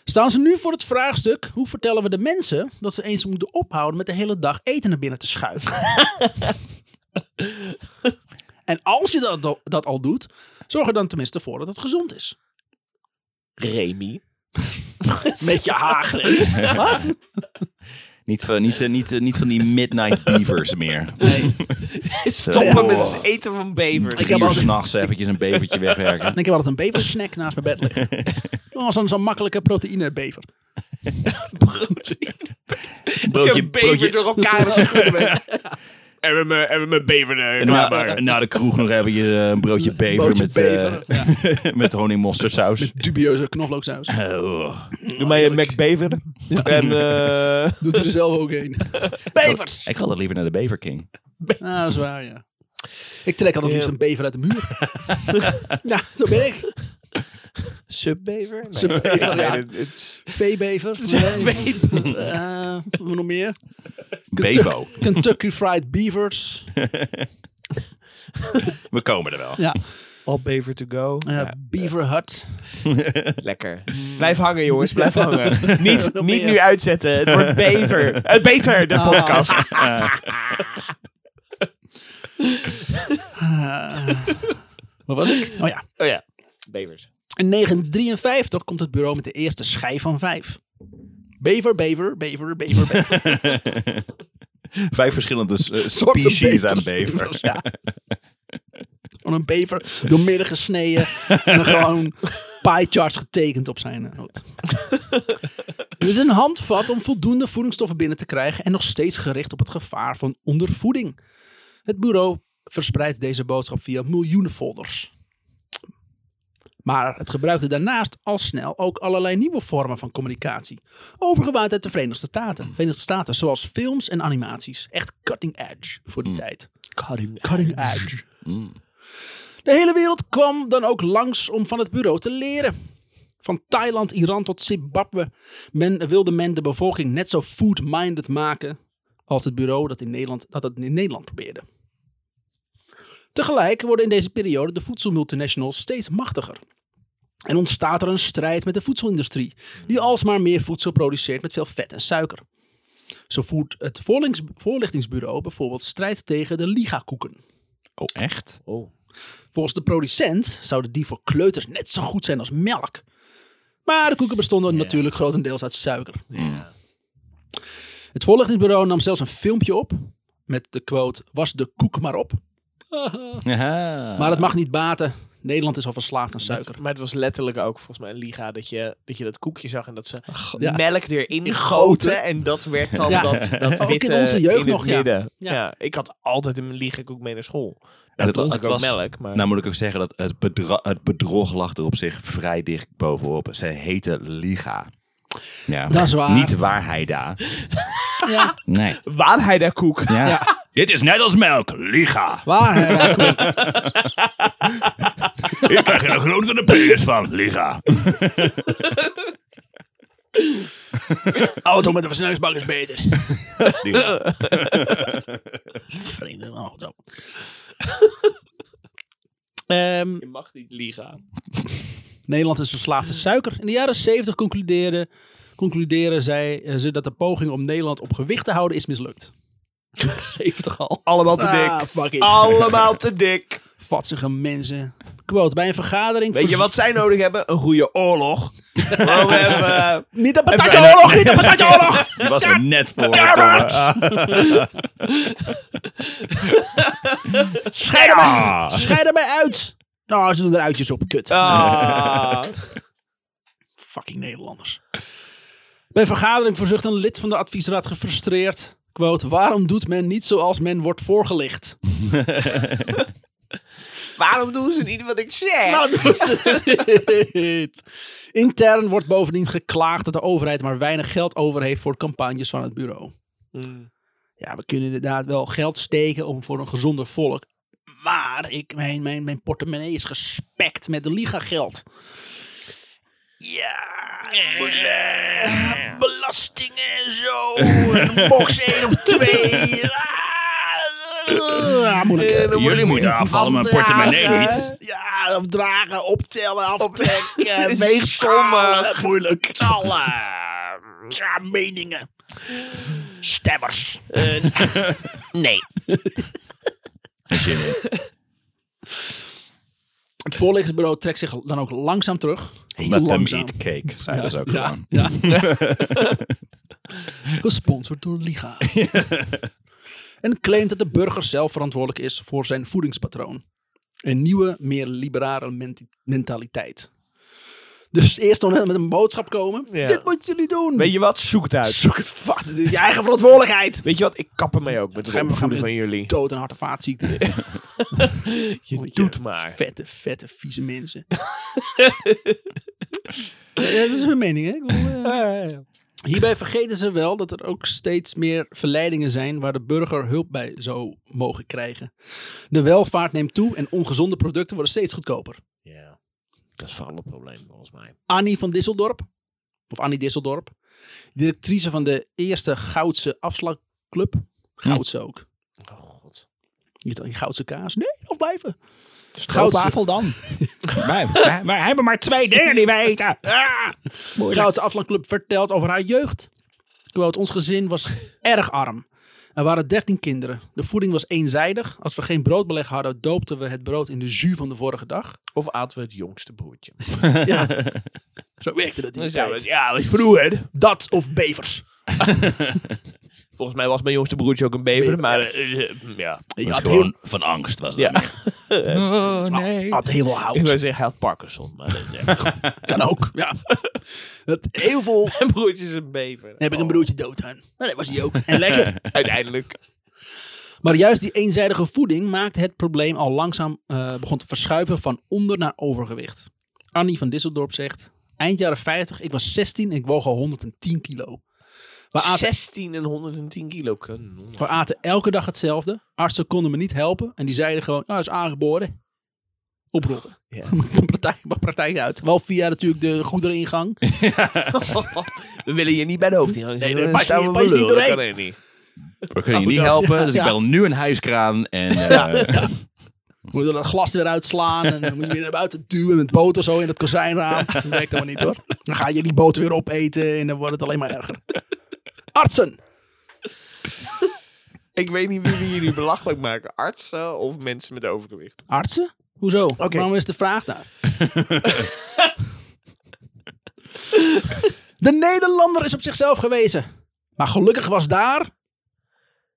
[SPEAKER 1] Staan ze nu voor het vraagstuk, hoe vertellen we de mensen dat ze eens moeten ophouden met de hele dag eten naar binnen te schuiven? en als je dat, dat al doet, zorg er dan tenminste voor dat het gezond is.
[SPEAKER 3] Remy.
[SPEAKER 1] Met je haargrens.
[SPEAKER 3] Wat?
[SPEAKER 2] Niet van, niet, eh, niet, eh, niet van die midnight beavers meer.
[SPEAKER 1] Nee.
[SPEAKER 3] Stoppen
[SPEAKER 1] Ja.
[SPEAKER 3] met het eten van bevers.
[SPEAKER 2] Drie
[SPEAKER 1] heb
[SPEAKER 2] uur
[SPEAKER 1] altijd-
[SPEAKER 2] s'nachts eventjes een bevertje wegwerken.
[SPEAKER 1] Ik heb altijd een beversnack naast mijn bed liggen. Oh, zo'n zo'n makkelijke proteïnebever.
[SPEAKER 2] Broodje, broodje.
[SPEAKER 3] elkaar schudden. en we mijn- en we mijn bever er klaar
[SPEAKER 2] Na,
[SPEAKER 3] maken.
[SPEAKER 2] na de kroeg nog even je eh, een broodje bever
[SPEAKER 1] Broodje
[SPEAKER 2] met,
[SPEAKER 1] bever,
[SPEAKER 2] eh, met honing mosterdsaus.
[SPEAKER 1] Dubieuze knoflooksaus.
[SPEAKER 2] Oh.
[SPEAKER 3] Doe mij een McBever. En eh,
[SPEAKER 1] Doet er zelf ook een. Bevers!
[SPEAKER 2] Ik ga dat liever naar de Bever King.
[SPEAKER 1] Ah, dat is waar, ja. Ik trek altijd liefst
[SPEAKER 3] Ja.
[SPEAKER 1] een bever uit de muur. ja, zo ben ik.
[SPEAKER 3] Subbever? Nee.
[SPEAKER 1] Subbever, ja.
[SPEAKER 3] Nee, het- het-
[SPEAKER 1] Veebever. Nee. Eh, wat nog meer?
[SPEAKER 2] Bevo.
[SPEAKER 1] Kentucky Fried Beavers.
[SPEAKER 2] We komen er wel.
[SPEAKER 1] Ja.
[SPEAKER 3] All bever to go.
[SPEAKER 1] Eh, Beaver Hut.
[SPEAKER 3] Lekker. Blijf hangen, jongens. Blijf hangen. niet
[SPEAKER 1] Nog
[SPEAKER 3] niet
[SPEAKER 1] meer.
[SPEAKER 3] nu uitzetten. Het wordt bever. Het beter,
[SPEAKER 1] Ah.
[SPEAKER 3] de podcast.
[SPEAKER 1] Wat was ik? Oh ja.
[SPEAKER 3] Oh ja. Bevers.
[SPEAKER 1] In 1953 komt het bureau met de eerste schijf van vijf. Bever, bever, bever, bever, bever.
[SPEAKER 2] Vijf verschillende eh,
[SPEAKER 1] Soorten
[SPEAKER 2] species aan
[SPEAKER 1] bevers.
[SPEAKER 2] bever.
[SPEAKER 1] Ja. Van een bever doormidden gesneden. en dan gewoon pie charts getekend op zijn eh, noot. Het is een handvat om voldoende voedingsstoffen binnen te krijgen. En nog steeds gericht op het gevaar van ondervoeding. Het bureau verspreidt deze boodschap via miljoenen folders. Maar het gebruikte daarnaast al snel ook allerlei nieuwe vormen van communicatie. Overgewaard uit de Verenigde Staten. Verenigde Staten, zoals films en animaties. Echt cutting edge voor die tijd.
[SPEAKER 3] Cutting
[SPEAKER 1] Cutting edge. De hele wereld kwam dan ook langs om van het bureau te leren. Van Thailand, Iran tot Zimbabwe men, wilde men de bevolking net zo food-minded maken als het bureau dat, in Nederland, dat het in Nederland probeerde. Tegelijk worden in deze periode de voedselmultinationals steeds machtiger. En ontstaat er een strijd met de voedselindustrie, die alsmaar meer voedsel produceert met veel vet en suiker. Zo voert het voorlings- voorlichtingsbureau bijvoorbeeld strijd tegen de Liga-koeken.
[SPEAKER 2] Oh, echt?
[SPEAKER 3] Oh.
[SPEAKER 1] Volgens de producent zouden die voor kleuters net zo goed zijn als melk. Maar de koeken bestonden natuurlijk grotendeels uit suiker. Het voorlichtingsbureau nam zelfs een filmpje op met de quote: Was de koek maar op.
[SPEAKER 2] Aha.
[SPEAKER 1] Maar het mag niet baten. Nederland is al verslaafd aan suiker.
[SPEAKER 3] Maar het was letterlijk ook volgens mij een liga dat je dat, je dat koekje zag en dat ze
[SPEAKER 1] ja.
[SPEAKER 3] melk erin
[SPEAKER 1] goten.
[SPEAKER 3] goten. En dat werd dan
[SPEAKER 1] Ja.
[SPEAKER 3] dat, dat
[SPEAKER 1] Ook in
[SPEAKER 3] witte
[SPEAKER 1] onze jeugd
[SPEAKER 3] het
[SPEAKER 1] nog, ja.
[SPEAKER 3] midden.
[SPEAKER 1] Ja.
[SPEAKER 3] Ja. Ik had altijd een liga koek mee naar school.
[SPEAKER 2] Ja,
[SPEAKER 3] Ja,
[SPEAKER 2] dat-
[SPEAKER 3] dat dronk
[SPEAKER 2] het
[SPEAKER 3] ik ook
[SPEAKER 2] was-
[SPEAKER 3] melk. Maar...
[SPEAKER 2] Nou moet ik ook zeggen dat het, bedra- het bedrog lag er op zich vrij dicht bovenop. Ze heten Liga. Ja.
[SPEAKER 1] Dat is waar.
[SPEAKER 2] Niet waarheida.
[SPEAKER 1] Ja.
[SPEAKER 2] Nee.
[SPEAKER 3] Waar hij daar koek.
[SPEAKER 2] Ja. Dit is net als melk. Liga.
[SPEAKER 1] Waar? hè?
[SPEAKER 2] Ik krijg er een grotere penis van. Liga.
[SPEAKER 3] Oh,
[SPEAKER 1] auto met een versnellingsbak is beter.
[SPEAKER 2] Liga.
[SPEAKER 1] Vreemde nou, auto. Ehm,
[SPEAKER 3] Je mag niet liga.
[SPEAKER 1] Ah, Nederland is verslaafd aan suiker. In de jaren 70 concludeerden, concluderen zij, eh, ze dat de poging om Nederland op gewicht te houden is mislukt. 70 al.
[SPEAKER 3] Allemaal te
[SPEAKER 1] Ah,
[SPEAKER 3] dik.
[SPEAKER 1] fuck it.
[SPEAKER 3] Allemaal te dik.
[SPEAKER 1] Vatzige mensen. Quote, bij een vergadering...
[SPEAKER 3] Weet je
[SPEAKER 1] verz-
[SPEAKER 3] wat zij nodig hebben? Een goede oorlog. Gewoon even...
[SPEAKER 1] Niet de patatjeoorlog, niet de patatjeoorlog!
[SPEAKER 2] Die was er net voor.
[SPEAKER 1] Damn it!
[SPEAKER 2] Tom.
[SPEAKER 1] Scheid er mij,
[SPEAKER 2] Ah.
[SPEAKER 1] scheid er mij uit! Nou, ze doen er uitjes op, kut.
[SPEAKER 3] Ah.
[SPEAKER 1] Fucking Nederlanders. Bij een vergadering verzucht een lid van de adviesraad gefrustreerd. Quote, waarom doet men niet zoals men wordt voorgelicht?
[SPEAKER 3] Waarom doen ze niet wat ik zeg?
[SPEAKER 1] Nou, doen ze dit. Intern wordt bovendien geklaagd dat de overheid maar weinig geld over heeft voor campagnes van het bureau.
[SPEAKER 3] Hmm.
[SPEAKER 1] Ja, we kunnen inderdaad wel geld steken om voor een gezonder volk. Maar ik, mijn, mijn, mijn portemonnee is gespekt met de liga geld. Ja, eh, belastingen en zo. Een box één of twee. Ah, moeilijk.
[SPEAKER 2] Jullie moeten afvallen, mijn portemonnee
[SPEAKER 1] eh,
[SPEAKER 2] niet.
[SPEAKER 1] Ja, opdragen, optellen, aftrekken,
[SPEAKER 3] Sommen.
[SPEAKER 1] weegschalen, moeilijk. Tallen, ja, meningen. Stemmers.
[SPEAKER 3] Nee.
[SPEAKER 2] Geen zin in.
[SPEAKER 1] Het voorlichtingsbureau trekt zich dan ook langzaam terug. Heel
[SPEAKER 2] Let them
[SPEAKER 1] langzaam.
[SPEAKER 2] eat cake. Zeiden ze ook
[SPEAKER 1] ja,
[SPEAKER 2] gewoon.
[SPEAKER 1] ja. Gesponsord door Liga. en claimt dat de burger zelf verantwoordelijk is voor zijn voedingspatroon. Een nieuwe, meer liberale menti- mentaliteit. Dus eerst nog met een boodschap komen.
[SPEAKER 3] Ja.
[SPEAKER 1] Dit moeten jullie doen.
[SPEAKER 3] Weet je wat? Zoek het uit.
[SPEAKER 1] Zoek het vast. Dit is je eigen verantwoordelijkheid.
[SPEAKER 3] Weet je wat? Ik kap ermee ook met
[SPEAKER 1] Ga maar-
[SPEAKER 3] het opvoeden
[SPEAKER 1] ga maar-
[SPEAKER 3] van jullie.
[SPEAKER 1] Dood en hart- en vaatziekten.
[SPEAKER 3] Je
[SPEAKER 1] Moet je
[SPEAKER 3] doet maar.
[SPEAKER 1] Vette, vette, vieze mensen. ja, dat is mijn mening, hè? Ik bedoel, eh. Hierbij vergeten ze wel dat er ook steeds meer verleidingen zijn waar de burger hulp bij zou mogen krijgen. De welvaart neemt toe en ongezonde producten worden steeds goedkoper.
[SPEAKER 3] Ja. Dat is vooral een probleem volgens mij.
[SPEAKER 1] Annie van Disseldorp, of Annie Disseldorp, directrice van de eerste Goudse
[SPEAKER 3] Hm.
[SPEAKER 1] afslagclub. Goudse ook.
[SPEAKER 3] Oh god.
[SPEAKER 1] Niet al die Goudse kaas. Nee, of blijven.
[SPEAKER 2] Stroopwafel dan. wij, wij, wij hebben maar twee dingen die wij eten.
[SPEAKER 1] Goudse Aflandclub vertelt over haar jeugd. Quote, ons gezin was erg arm. Er waren dertien kinderen. De voeding was eenzijdig. Als we geen broodbeleg hadden, doopten we het brood in de jus van de vorige dag.
[SPEAKER 3] Of aten we het jongste broertje.
[SPEAKER 1] Zo werkte dat in die
[SPEAKER 3] Ja,
[SPEAKER 1] tijd.
[SPEAKER 3] dat is vroeger.
[SPEAKER 1] Dat of bevers.
[SPEAKER 3] Volgens mij was mijn jongste broertje ook een bever, maar eh, eh, ja.
[SPEAKER 1] Je
[SPEAKER 2] Dat
[SPEAKER 1] had
[SPEAKER 2] is
[SPEAKER 1] heel,
[SPEAKER 2] gewoon van angst was dat.
[SPEAKER 3] Ja.
[SPEAKER 2] Oh nee.
[SPEAKER 1] had heel veel
[SPEAKER 3] Ik
[SPEAKER 1] hout.
[SPEAKER 3] wou zeggen, hij had Parkinson, maar eh, dat is echt goed.
[SPEAKER 1] Kan ook. Ja. Dat heel veel
[SPEAKER 3] Mijn broertje is een bever.
[SPEAKER 1] heb ik een broertje dood aan. Maar dat was hij ook. En lekker.
[SPEAKER 3] Uiteindelijk.
[SPEAKER 1] Maar juist die eenzijdige voeding maakte het probleem al langzaam eh, begon te verschuiven van onder naar overgewicht. Annie van Disseldorp zegt... Eind jaren 50, ik was 16 en ik woog al 110 kilo. We aten,
[SPEAKER 3] 16 en 110 kilo. kanon.
[SPEAKER 1] we aten elke dag hetzelfde. Artsen konden me niet helpen. En die zeiden gewoon, nou, is aangeboren. Oprotten.
[SPEAKER 3] Ja.
[SPEAKER 1] Mijn praktijk, mijn praktijk uit. Wel via natuurlijk de goedereningang.
[SPEAKER 3] we willen je niet bij de hoofd ingaan.
[SPEAKER 1] Nee,
[SPEAKER 3] Dan
[SPEAKER 1] dat past
[SPEAKER 3] staan
[SPEAKER 1] niet-
[SPEAKER 3] we
[SPEAKER 1] past
[SPEAKER 3] voor
[SPEAKER 1] niet
[SPEAKER 3] lul, dat
[SPEAKER 1] doorheen.
[SPEAKER 3] kan niet.
[SPEAKER 2] We kunnen je niet helpen, dus ik
[SPEAKER 1] Ja.
[SPEAKER 2] bel nu een huiskraan. En, eh,
[SPEAKER 1] Moet je dat glas weer uitslaan en dan moet je weer naar buiten duwen met boter zo in dat kozijnraam. Dat werkt helemaal niet hoor. Dan ga je die boter weer opeten en dan wordt het alleen maar erger. Artsen!
[SPEAKER 3] Ik weet niet wie we jullie belachelijk maken. Artsen of mensen met overgewicht?
[SPEAKER 1] Artsen? Hoezo? Waarom is de vraag daar? de Nederlander is op zichzelf gewezen. Maar gelukkig was daar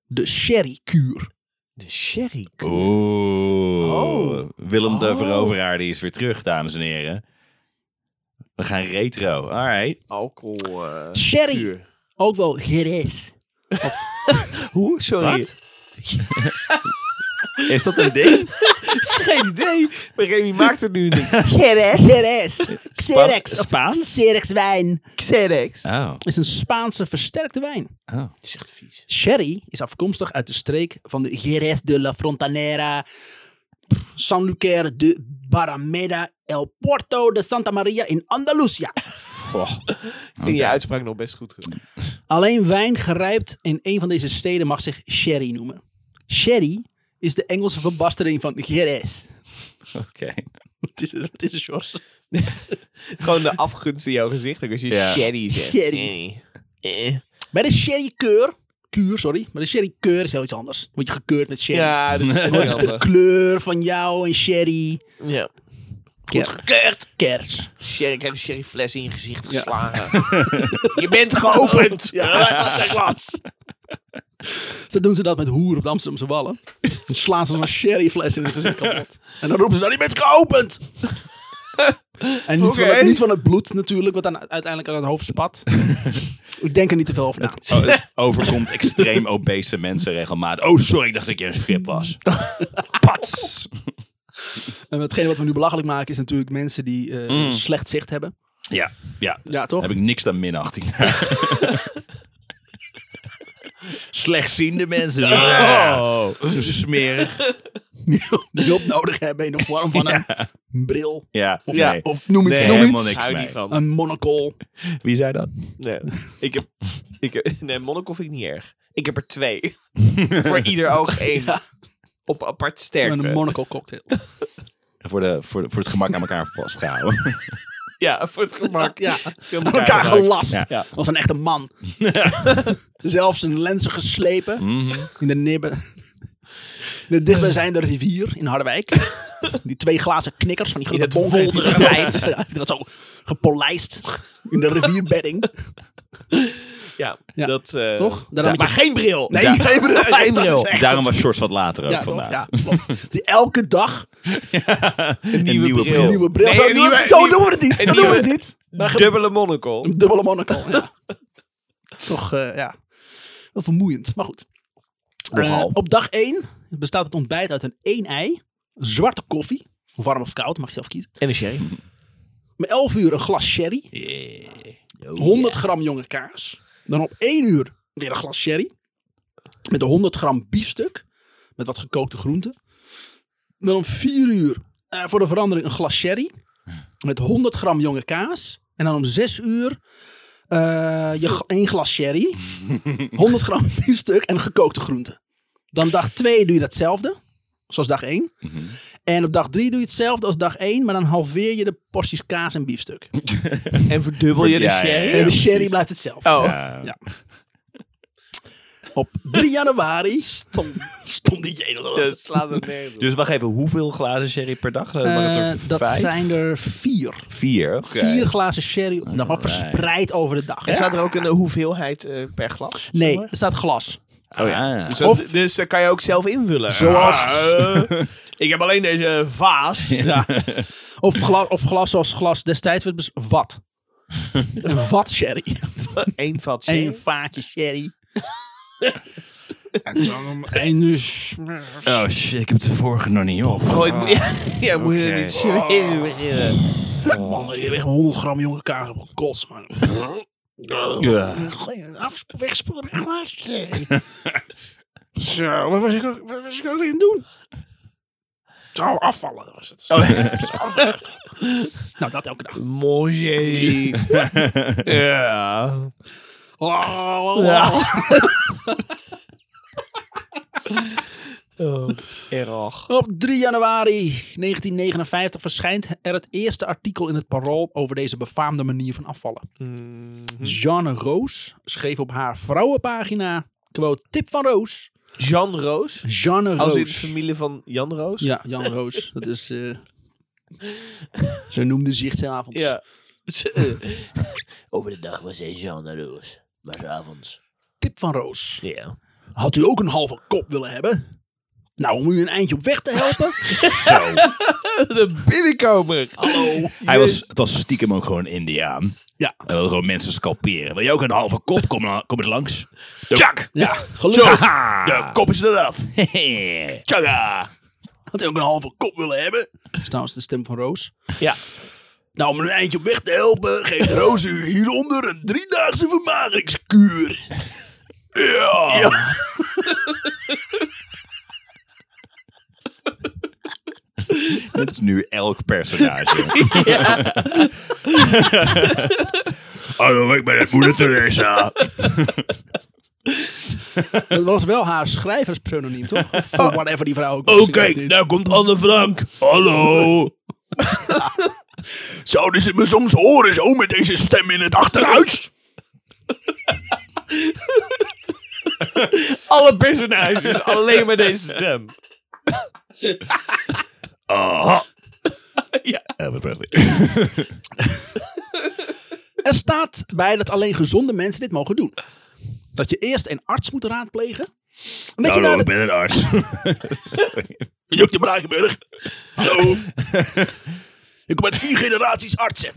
[SPEAKER 1] de sherrykuur.
[SPEAKER 3] De sherry.
[SPEAKER 2] Oeh.
[SPEAKER 3] Oh.
[SPEAKER 2] Willem de
[SPEAKER 3] Oh.
[SPEAKER 2] Veroveraar die is weer terug, dames en heren. We gaan retro. Alright.
[SPEAKER 3] Alcohol. eh,
[SPEAKER 1] Sherry.
[SPEAKER 3] puur.
[SPEAKER 1] Ook wel geres.
[SPEAKER 3] Hoe? Sorry.
[SPEAKER 2] Wat? Is dat een ding?
[SPEAKER 3] Geen idee. Maar Remy maakt het nu niet.
[SPEAKER 1] Geres. Geres. Xerex. of
[SPEAKER 2] Spaans?
[SPEAKER 1] Xerex wijn.
[SPEAKER 3] Xerex.
[SPEAKER 2] Oh.
[SPEAKER 1] is een Spaanse versterkte wijn.
[SPEAKER 2] oh.
[SPEAKER 3] Dat is echt vies.
[SPEAKER 1] Sherry is afkomstig uit de streek van de Jerez de la Frontanera, Sanlúcar de Barrameda, El Porto de Santa Maria in Andalusia.
[SPEAKER 3] Ik vind je uitspraak nog best goed gedaan.
[SPEAKER 1] Alleen wijn gerijpt in een van deze steden mag zich sherry noemen. Sherry is de Engelse verbastering van Jerez.
[SPEAKER 2] Oké.
[SPEAKER 1] Het is, het is een short.
[SPEAKER 3] Gewoon de afgunst in jouw gezicht. ook Als je
[SPEAKER 2] Ja.
[SPEAKER 3] sherry zegt.
[SPEAKER 1] Sherry.
[SPEAKER 3] Nee. Eh.
[SPEAKER 1] Bij de sherrykeur, kuur, sorry, maar de sherrykeur is heel iets anders. Word je gekeurd met sherry.
[SPEAKER 3] Ja, dat is heel
[SPEAKER 1] Wat is de
[SPEAKER 3] handig.
[SPEAKER 1] kleur van jou en sherry?
[SPEAKER 3] Ja.
[SPEAKER 1] Goed gekeurd. Kers.
[SPEAKER 3] Sherry, ik heb een sherryfles in je gezicht geslagen. je bent geopend.
[SPEAKER 1] Ja, dat is wat. Ze doen ze dat met hoer op de Amsterdamse wallen. Dan slaan ze zo'n sherryfles in het gezicht kapot. En dan roepen ze dan, die bent geopend! En niet, van
[SPEAKER 3] Oké.
[SPEAKER 1] het, niet van het bloed natuurlijk, wat dan uiteindelijk aan het hoofd spat. Ik denk er niet te veel over na.
[SPEAKER 2] Oh, het overkomt extreem obese mensen regelmatig. Oh, sorry, ik dacht dat je een schip was. Pats.
[SPEAKER 1] En hetgeen wat we nu belachelijk maken is natuurlijk mensen die eh, slecht zicht hebben.
[SPEAKER 2] Ja, Mm. ja.
[SPEAKER 1] Ja, toch?
[SPEAKER 2] Heb ik niks aan minachting. Slechtziende mensen. Oh. Smerig.
[SPEAKER 1] Die hulp nodig hebben in de vorm van een bril.
[SPEAKER 2] Ja.
[SPEAKER 1] Of,
[SPEAKER 2] nee.
[SPEAKER 1] of noem iets,
[SPEAKER 2] Nee,
[SPEAKER 1] noem
[SPEAKER 2] helemaal
[SPEAKER 1] iets.
[SPEAKER 2] niks.
[SPEAKER 3] Hou
[SPEAKER 2] mee.
[SPEAKER 3] niet van.
[SPEAKER 1] Een monocle.
[SPEAKER 2] Wie zei dat?
[SPEAKER 3] Nee, ik heb, ik heb, nee monocle vind ik niet erg. Ik heb er twee. Voor ieder oog één. Op apart sterkte.
[SPEAKER 1] Een monocle cocktail.
[SPEAKER 2] Voor, de, voor, de- voor het gemak aan elkaar vastgehouden.
[SPEAKER 3] ja, voor het gemak.
[SPEAKER 1] Ja,
[SPEAKER 3] Aan
[SPEAKER 1] aan elkaar
[SPEAKER 3] geraakt.
[SPEAKER 1] gelast.
[SPEAKER 2] Ja.
[SPEAKER 1] Dat was een echte man. Zelfs zijn lenzen geslepen
[SPEAKER 2] Mhm.
[SPEAKER 1] in de nibben. In het dichtbijzijnde rivier in Harderwijk. Die twee glazen knikkers van die
[SPEAKER 3] In
[SPEAKER 1] grote
[SPEAKER 3] het
[SPEAKER 1] bonken. die
[SPEAKER 3] volderen.
[SPEAKER 1] dat wijs. Ja, die Dat zo gepolijst in de rivierbedding.
[SPEAKER 3] Ja,
[SPEAKER 1] Ja.
[SPEAKER 3] dat... eh,
[SPEAKER 1] Toch?
[SPEAKER 3] ja,
[SPEAKER 1] Daarom
[SPEAKER 3] maar
[SPEAKER 1] dat je-
[SPEAKER 3] geen bril.
[SPEAKER 1] Nee,
[SPEAKER 2] Daar-
[SPEAKER 1] geen bril.
[SPEAKER 3] Geen
[SPEAKER 1] Dat is
[SPEAKER 3] bril.
[SPEAKER 1] echt-
[SPEAKER 2] Daarom was Shorts wat later ook
[SPEAKER 1] ja, toch?
[SPEAKER 2] vandaag.
[SPEAKER 1] ja, klopt. Die elke dag
[SPEAKER 3] Een nieuwe,
[SPEAKER 2] nieuwe
[SPEAKER 3] bril.
[SPEAKER 2] bril.
[SPEAKER 1] een nieuwe bril.
[SPEAKER 3] Oh.
[SPEAKER 1] zo
[SPEAKER 3] Nee,
[SPEAKER 1] doen we
[SPEAKER 3] een nieuwe-
[SPEAKER 1] het, zo
[SPEAKER 3] nieuwe-
[SPEAKER 1] doen we het niet.
[SPEAKER 3] een
[SPEAKER 1] Zo doen we
[SPEAKER 3] nieuwe-
[SPEAKER 1] het niet. Daar ge-
[SPEAKER 3] Dubbele monocle.
[SPEAKER 1] Een dubbele monocle, ja. Toch, eh, ja. Wel vermoeiend, maar goed.
[SPEAKER 2] Nogal.
[SPEAKER 1] Eh, op dag 1 bestaat het ontbijt uit een één ei, zwarte koffie, warm of koud, mag je zelf kiezen.
[SPEAKER 3] En een sherry.
[SPEAKER 1] Om 11 uur een glas sherry,
[SPEAKER 2] Yeah.
[SPEAKER 1] 100 gram jonge kaas. Dan op 1 uur weer een glas sherry, met 100 gram biefstuk, met wat gekookte groenten. Dan om 4 uur eh, voor de verandering een glas sherry, met 100 gram jonge kaas. En dan om 6 uur eh, je gl- één glas sherry, 100 gram biefstuk en gekookte groenten. Dan dag 2 doe je datzelfde, zoals dag 1.
[SPEAKER 2] Mhm.
[SPEAKER 1] En op dag 3 doe je hetzelfde als dag 1, maar dan halveer je de porties kaas en biefstuk.
[SPEAKER 3] En verdubbel je de
[SPEAKER 2] Ja, ja,
[SPEAKER 3] sherry.
[SPEAKER 2] ja.
[SPEAKER 1] en de sherry
[SPEAKER 2] precies.
[SPEAKER 1] blijft hetzelfde.
[SPEAKER 3] Oh.
[SPEAKER 2] Ja.
[SPEAKER 1] Ja. Op 3 januari stond, stond die jezus. wat
[SPEAKER 3] Dat slaat het nergens op.
[SPEAKER 2] Dus wacht even, hoeveel glazen sherry per dag? Zijn waren het
[SPEAKER 1] Eh,
[SPEAKER 2] er
[SPEAKER 1] dat
[SPEAKER 2] vijf?
[SPEAKER 1] zijn er vier.
[SPEAKER 2] vier. Oké.
[SPEAKER 1] Vier glazen sherry op de dag, maar
[SPEAKER 2] Alright.
[SPEAKER 1] Nou, verspreid over de dag.
[SPEAKER 3] En staat er ook een eh, hoeveelheid eh, per glas?
[SPEAKER 1] Nee, er staat glas.
[SPEAKER 2] Oh ja.
[SPEAKER 3] Dus,
[SPEAKER 1] Of-
[SPEAKER 3] dat- dus dat kan je ook zelf invullen.
[SPEAKER 1] Zoals-
[SPEAKER 3] Ah, eh, ik heb alleen deze vaas.
[SPEAKER 1] Ja. Of, glas, of glas zoals glas destijds werd bes- Wat? Een vat sherry.
[SPEAKER 3] Eén vat sherry.
[SPEAKER 1] Eén vaatje sherry. en dus- dan om één uur...
[SPEAKER 2] Oh shit, ik heb de vorige nog niet op.
[SPEAKER 3] Oh, ik moet- ja, moet je
[SPEAKER 2] Oké.
[SPEAKER 3] niet zo even beginnen.
[SPEAKER 2] Oh.
[SPEAKER 1] Man, je weegt 100 gram jonge kaas op kots, man.
[SPEAKER 2] Oh,
[SPEAKER 1] Af, wegspoelen met een glaasje. Zo, wat was ik ook, wat was ik ook weer aan het doen? Zo, afvallen was het. Zo. nou, dat elke dag.
[SPEAKER 3] Mooi. ja. Oh, erg.
[SPEAKER 1] Op 3 januari 1959 verschijnt er het eerste artikel in het Parool over deze befaamde manier van afvallen. Mhm. Jeanne Roos schreef op haar vrouwenpagina, quote, tip van Roos.
[SPEAKER 3] Jan Roos.
[SPEAKER 1] Jeanne
[SPEAKER 3] Als in de
[SPEAKER 1] Roos.
[SPEAKER 3] familie van Jan Roos.
[SPEAKER 1] Ja, Jan Roos. Dat is, eh zo noemde ze zichzelf.
[SPEAKER 3] Ja. Over de dag was hij Jan Roos. Maar s'avonds.
[SPEAKER 1] Tip van Roos.
[SPEAKER 3] Ja.
[SPEAKER 1] Had u ook een halve kop willen hebben? Nou, om u een eindje op weg te helpen?
[SPEAKER 3] De binnenkomer.
[SPEAKER 1] Hallo.
[SPEAKER 2] Hij was, het was stiekem ook gewoon Indiaan.
[SPEAKER 1] Ja.
[SPEAKER 2] Hij wil gewoon mensen scalperen. Wil je ook een halve kop? Kom, dan- kom eens langs. Tjak!
[SPEAKER 1] Ja, gelukkig.
[SPEAKER 2] De
[SPEAKER 3] Kop is eraf.
[SPEAKER 2] Tjaka!
[SPEAKER 1] Had u ook een halve kop willen hebben? Dat is trouwens de stem van Roos.
[SPEAKER 3] Ja.
[SPEAKER 1] Nou, om een eindje op weg te helpen, geeft Roos u hieronder een driedaagse vermageringskuur. Ja.
[SPEAKER 2] Dit is nu elk personage. Hallo, ik ben het moeder Teresa.
[SPEAKER 1] Dat was wel haar schrijverspseudoniem, toch? Of whatever die vrouw ook was.
[SPEAKER 3] Oh,
[SPEAKER 1] Ik weet
[SPEAKER 3] kijk,
[SPEAKER 1] niet.
[SPEAKER 3] daar komt Anne Frank. Hallo.
[SPEAKER 2] Zouden ze me soms horen zo met deze stem in het achterhuis?
[SPEAKER 3] Alle personages, alleen maar deze stem.
[SPEAKER 2] Aha.
[SPEAKER 3] Ja.
[SPEAKER 2] Elvis Presley.
[SPEAKER 1] Er staat bij dat alleen gezonde mensen dit mogen doen. Dat je eerst een arts moet raadplegen. En dat je
[SPEAKER 2] Hallo,
[SPEAKER 1] naar
[SPEAKER 2] ik
[SPEAKER 1] de...
[SPEAKER 2] ben een arts.
[SPEAKER 1] Juk de Brakenburg. Hallo. Ik ben vier generaties artsen.